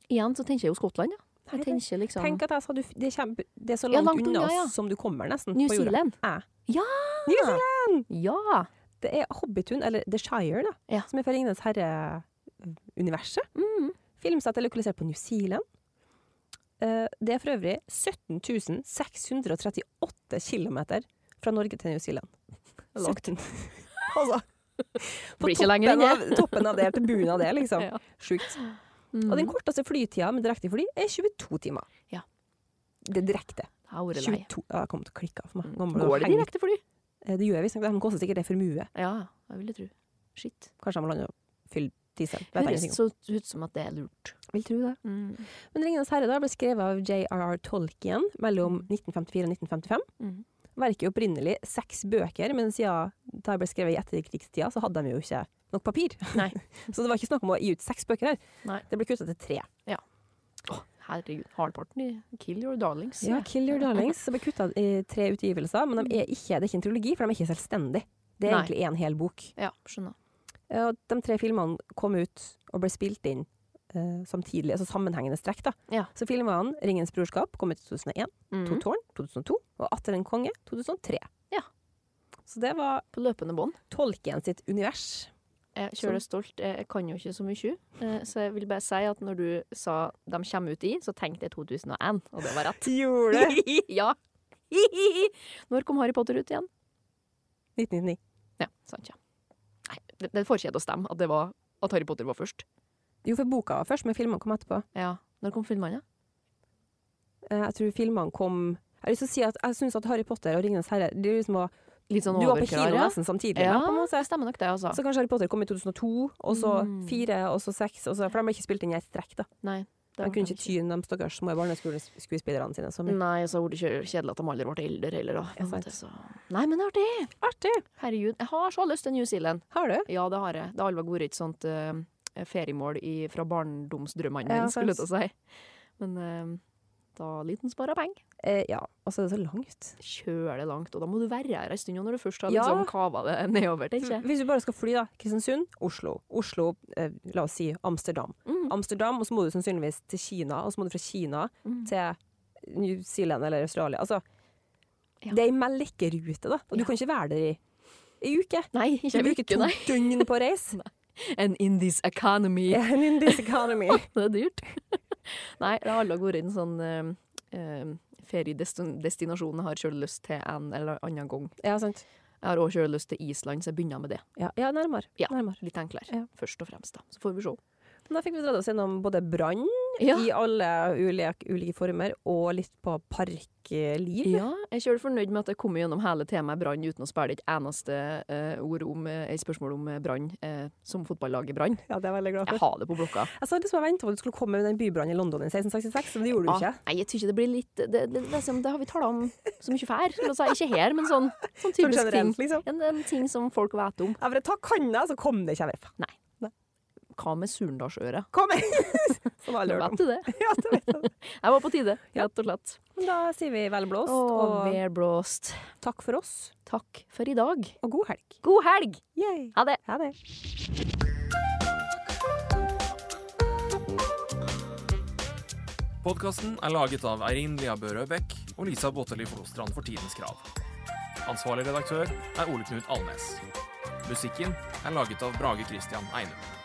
[SPEAKER 3] Igjen så tenker jeg jo Skottland, ja.
[SPEAKER 2] Nei,
[SPEAKER 3] Jeg
[SPEAKER 2] det-
[SPEAKER 3] tenker liksom
[SPEAKER 2] Tenk at jeg sa du, det, er kjempe, det er så
[SPEAKER 3] Ja,
[SPEAKER 2] langt,
[SPEAKER 3] langt
[SPEAKER 2] unna
[SPEAKER 3] unna, ja.
[SPEAKER 2] oss som du kommer, nesten.
[SPEAKER 3] New
[SPEAKER 2] på jorda.
[SPEAKER 3] Zealand.
[SPEAKER 2] Ja.
[SPEAKER 3] Ja!
[SPEAKER 2] New Zealand.
[SPEAKER 3] Ja!
[SPEAKER 2] Det er Hobbitun, eller The Shire, da,
[SPEAKER 3] Ja.
[SPEAKER 2] som er eh, fra Ringenes herre-universet.
[SPEAKER 3] Mm.
[SPEAKER 2] Filmsett er lokalisert på New Zealand. Eh, Det er for øvrig 17 638 km fra Norge til New Zealand.
[SPEAKER 3] er langt.
[SPEAKER 2] 17.
[SPEAKER 3] [laughs]
[SPEAKER 2] [laughs] altså, på
[SPEAKER 3] Blir ikke
[SPEAKER 2] toppen,
[SPEAKER 3] lenger enn
[SPEAKER 2] av, toppen av det til bunnen av det, liksom.
[SPEAKER 3] [laughs] Ja.
[SPEAKER 2] Sjukt.
[SPEAKER 3] Mm.
[SPEAKER 2] Og den korteste flytida med direktefly er 22 timer.
[SPEAKER 3] Ja.
[SPEAKER 2] Det er direkte.
[SPEAKER 3] Jeg har vært lei.
[SPEAKER 2] 22 ja, Jeg kommer til å klikke av for meg. Gammel,
[SPEAKER 3] Mm. Går det
[SPEAKER 2] henger-
[SPEAKER 3] direkte fly?
[SPEAKER 2] Eh, Det gjør jeg visstnok. De koster sikkert det formue.
[SPEAKER 3] Ja, jeg ville tro. Shit.
[SPEAKER 2] Kanskje de må lande og fylle diesel. Vet jeg
[SPEAKER 3] Høres
[SPEAKER 2] ingenting om.
[SPEAKER 3] så ut som at det er lurt.
[SPEAKER 2] Vil tro det.
[SPEAKER 3] Mm.
[SPEAKER 2] Men 'Ringenes herre' da ble skrevet av J.R.R. Tolkien mellom
[SPEAKER 3] Mm.
[SPEAKER 2] 1954 og 1955.
[SPEAKER 3] Mm.
[SPEAKER 2] Verket er opprinnelig seks bøker, men siden det ble skrevet i etterkrigstida, så hadde de jo ikke nok papir.
[SPEAKER 3] Nei.
[SPEAKER 2] [laughs] så det var ikke snakk om å gi ut seks bøker her.
[SPEAKER 3] Nei.
[SPEAKER 2] Det ble kutta til tre.
[SPEAKER 3] Åh, herregud. Halvparten i Kill Your Darlings.
[SPEAKER 2] Ja, 'Kill Your Darlings' det ble kutta i tre utgivelser, men de er ikke, det er ikke en trilogi, for de er ikke selvstendige. Det er
[SPEAKER 3] Nei.
[SPEAKER 2] egentlig én hel bok.
[SPEAKER 3] Ja, skjønner.
[SPEAKER 2] Ja, og de tre filmene kom ut og ble spilt inn eh, samtidig, altså sammenhengende strekk. da.
[SPEAKER 3] Ja.
[SPEAKER 2] Så filmene 'Ringens brorskap' kom ut i 2001,
[SPEAKER 3] Mm.
[SPEAKER 2] 'To tårn' 2002 og 'Atter en konge' 2003.
[SPEAKER 3] Ja.
[SPEAKER 2] Så det var
[SPEAKER 3] På løpende bånd.
[SPEAKER 2] Tolkien sitt univers.
[SPEAKER 3] Jeg
[SPEAKER 2] Sånn.
[SPEAKER 3] kjører stolt. Jeg jeg kan jo ikke så mye. eh, Så jeg vil bare si at når du sa de kommer ut i, så tenkte jeg 2001, og det var rett.
[SPEAKER 2] Gjorde [laughs] det!
[SPEAKER 3] [laughs] ja. Når kom Harry Potter ut igjen?
[SPEAKER 2] 1999.
[SPEAKER 3] Ja, sant, ja. Nei, det, det får ikke jeg til å stemme at, det var, at Harry Potter var først.
[SPEAKER 2] Jo, for boka var først, men filmene kom etterpå.
[SPEAKER 3] Ja. Når kom filmene?
[SPEAKER 2] Eh, jeg tror filmene kom Jeg har lyst til å si at jeg syns at Harry Potter og Ringenes herre det er liksom var,
[SPEAKER 3] Litt sånn
[SPEAKER 2] Du var på kino
[SPEAKER 3] overklar, ja.
[SPEAKER 2] nesten samtidig.
[SPEAKER 3] Ja,
[SPEAKER 2] med, på en måte.
[SPEAKER 3] det stemmer nok det, altså.
[SPEAKER 2] Så kanskje Harry Potter kom i 2002, og så
[SPEAKER 3] Mm.
[SPEAKER 2] fire, og så seks. og så- For de ble ikke spilt inn i ett strekk. da.
[SPEAKER 3] Nei. det
[SPEAKER 2] De
[SPEAKER 3] var
[SPEAKER 2] kunne
[SPEAKER 3] kanskje Mm.
[SPEAKER 2] ikke tyne de stakkars små barneskuespillerne sine. så mye.
[SPEAKER 3] Nei, så blir det ikke kjedelig at de aldri ble eldre heller, da. på en
[SPEAKER 2] Ja, sant.
[SPEAKER 3] måte, så. Nei, men det er artig!
[SPEAKER 2] Artig!
[SPEAKER 3] Herregud, jeg har så lyst til New Zealand.
[SPEAKER 2] Har du?
[SPEAKER 3] Ja, det har jeg. Det har aldri vært et sånt eh, feriemål i, fra barndomsdrømmene
[SPEAKER 2] Ja,
[SPEAKER 3] mine, skulle jeg
[SPEAKER 2] sant.
[SPEAKER 3] til å si. Men eh, da liten sparer penger.
[SPEAKER 2] Eh, ja. Og så er det så langt.
[SPEAKER 3] Kjøle langt, og da må du være her en stund når du først har
[SPEAKER 2] Ja.
[SPEAKER 3] liksom kava det nedover, tenker jeg.
[SPEAKER 2] Hvis du bare skal fly, da. Kristiansund, Oslo. Oslo, eh, la oss si Amsterdam.
[SPEAKER 3] Mm.
[SPEAKER 2] Amsterdam, og så må du sannsynligvis til Kina, og så må du fra Kina
[SPEAKER 3] Mm.
[SPEAKER 2] til New Zealand eller Australia. Altså,
[SPEAKER 3] Ja.
[SPEAKER 2] Det er ei melkerute, da. Og du
[SPEAKER 3] Ja.
[SPEAKER 2] kan ikke være der i ei uke.
[SPEAKER 3] Nei, ikke
[SPEAKER 2] Du
[SPEAKER 3] jeg
[SPEAKER 2] bruker
[SPEAKER 3] bruker
[SPEAKER 2] to
[SPEAKER 3] nei.
[SPEAKER 2] [laughs] døgn på å reise.
[SPEAKER 3] And in this economy.
[SPEAKER 2] And in this [laughs] economy.
[SPEAKER 3] [laughs] Det er dyrt. Nei, det har alle vært en sånn eh, eh, feriedestinasjon jeg har sjøl lyst til en eller annen gang.
[SPEAKER 2] Ja, sant.
[SPEAKER 3] Jeg har òg sjøl lyst til Island, så jeg begynner med det.
[SPEAKER 2] Ja, ja nærmere.
[SPEAKER 3] Ja.
[SPEAKER 2] nærmere.
[SPEAKER 3] Litt enklere,
[SPEAKER 2] Ja.
[SPEAKER 3] først og fremst. da. Så får vi se.
[SPEAKER 2] Men Da fikk vi dratt oss gjennom både brann
[SPEAKER 3] Ja.
[SPEAKER 2] i alle ulike, ulike former, og litt på parkliv.
[SPEAKER 3] Ja, jeg er sjøl fornøyd med at jeg kom gjennom hele temaet brann uten å spille et eneste eh, ord om eh, et spørsmål om eh, brann eh, som fotballaget Brann.
[SPEAKER 2] Ja, det er jeg veldig glad
[SPEAKER 3] Jeg har det på blokka.
[SPEAKER 2] Jeg sa liksom jeg ventet på at du skulle komme med den bybrannen i London i 1666, men det gjorde du
[SPEAKER 3] Ah,
[SPEAKER 2] ikke.
[SPEAKER 3] nei, jeg tror ikke det blir litt Det, det, det, er som- det har vi tala om så mye før. skulle jeg si. Ikke her, men sånn, sånn
[SPEAKER 2] Sånn
[SPEAKER 3] typisk ting.
[SPEAKER 2] generelt, liksom.
[SPEAKER 3] En, en ting som folk vet om.
[SPEAKER 2] Jeg bare ta kanna, så kom det ikke. Jeg bare, faen,
[SPEAKER 3] Hva med Surndalsøra?
[SPEAKER 2] kom igjen! [laughs] Som alle har hørt
[SPEAKER 3] Vet
[SPEAKER 2] om.
[SPEAKER 3] du det?
[SPEAKER 2] [laughs] Ja, det vet jeg.
[SPEAKER 3] Jeg var på tide, [laughs] rett og slett.
[SPEAKER 2] Men da sier vi vel blåst,
[SPEAKER 3] Og
[SPEAKER 2] og
[SPEAKER 3] værblåst.
[SPEAKER 2] takk for oss,
[SPEAKER 3] Takk for i dag.
[SPEAKER 2] og god helg.
[SPEAKER 3] God helg!
[SPEAKER 2] Yay.
[SPEAKER 3] Ha det!
[SPEAKER 2] Ha det.
[SPEAKER 1] Podkasten er laget av Eirin Lia Børø Bech og Lisa Botteli Flostrand for Tidens Krav. Ansvarlig redaktør er Ole Knut Alnes. Musikken er laget av Brage Christian Einum.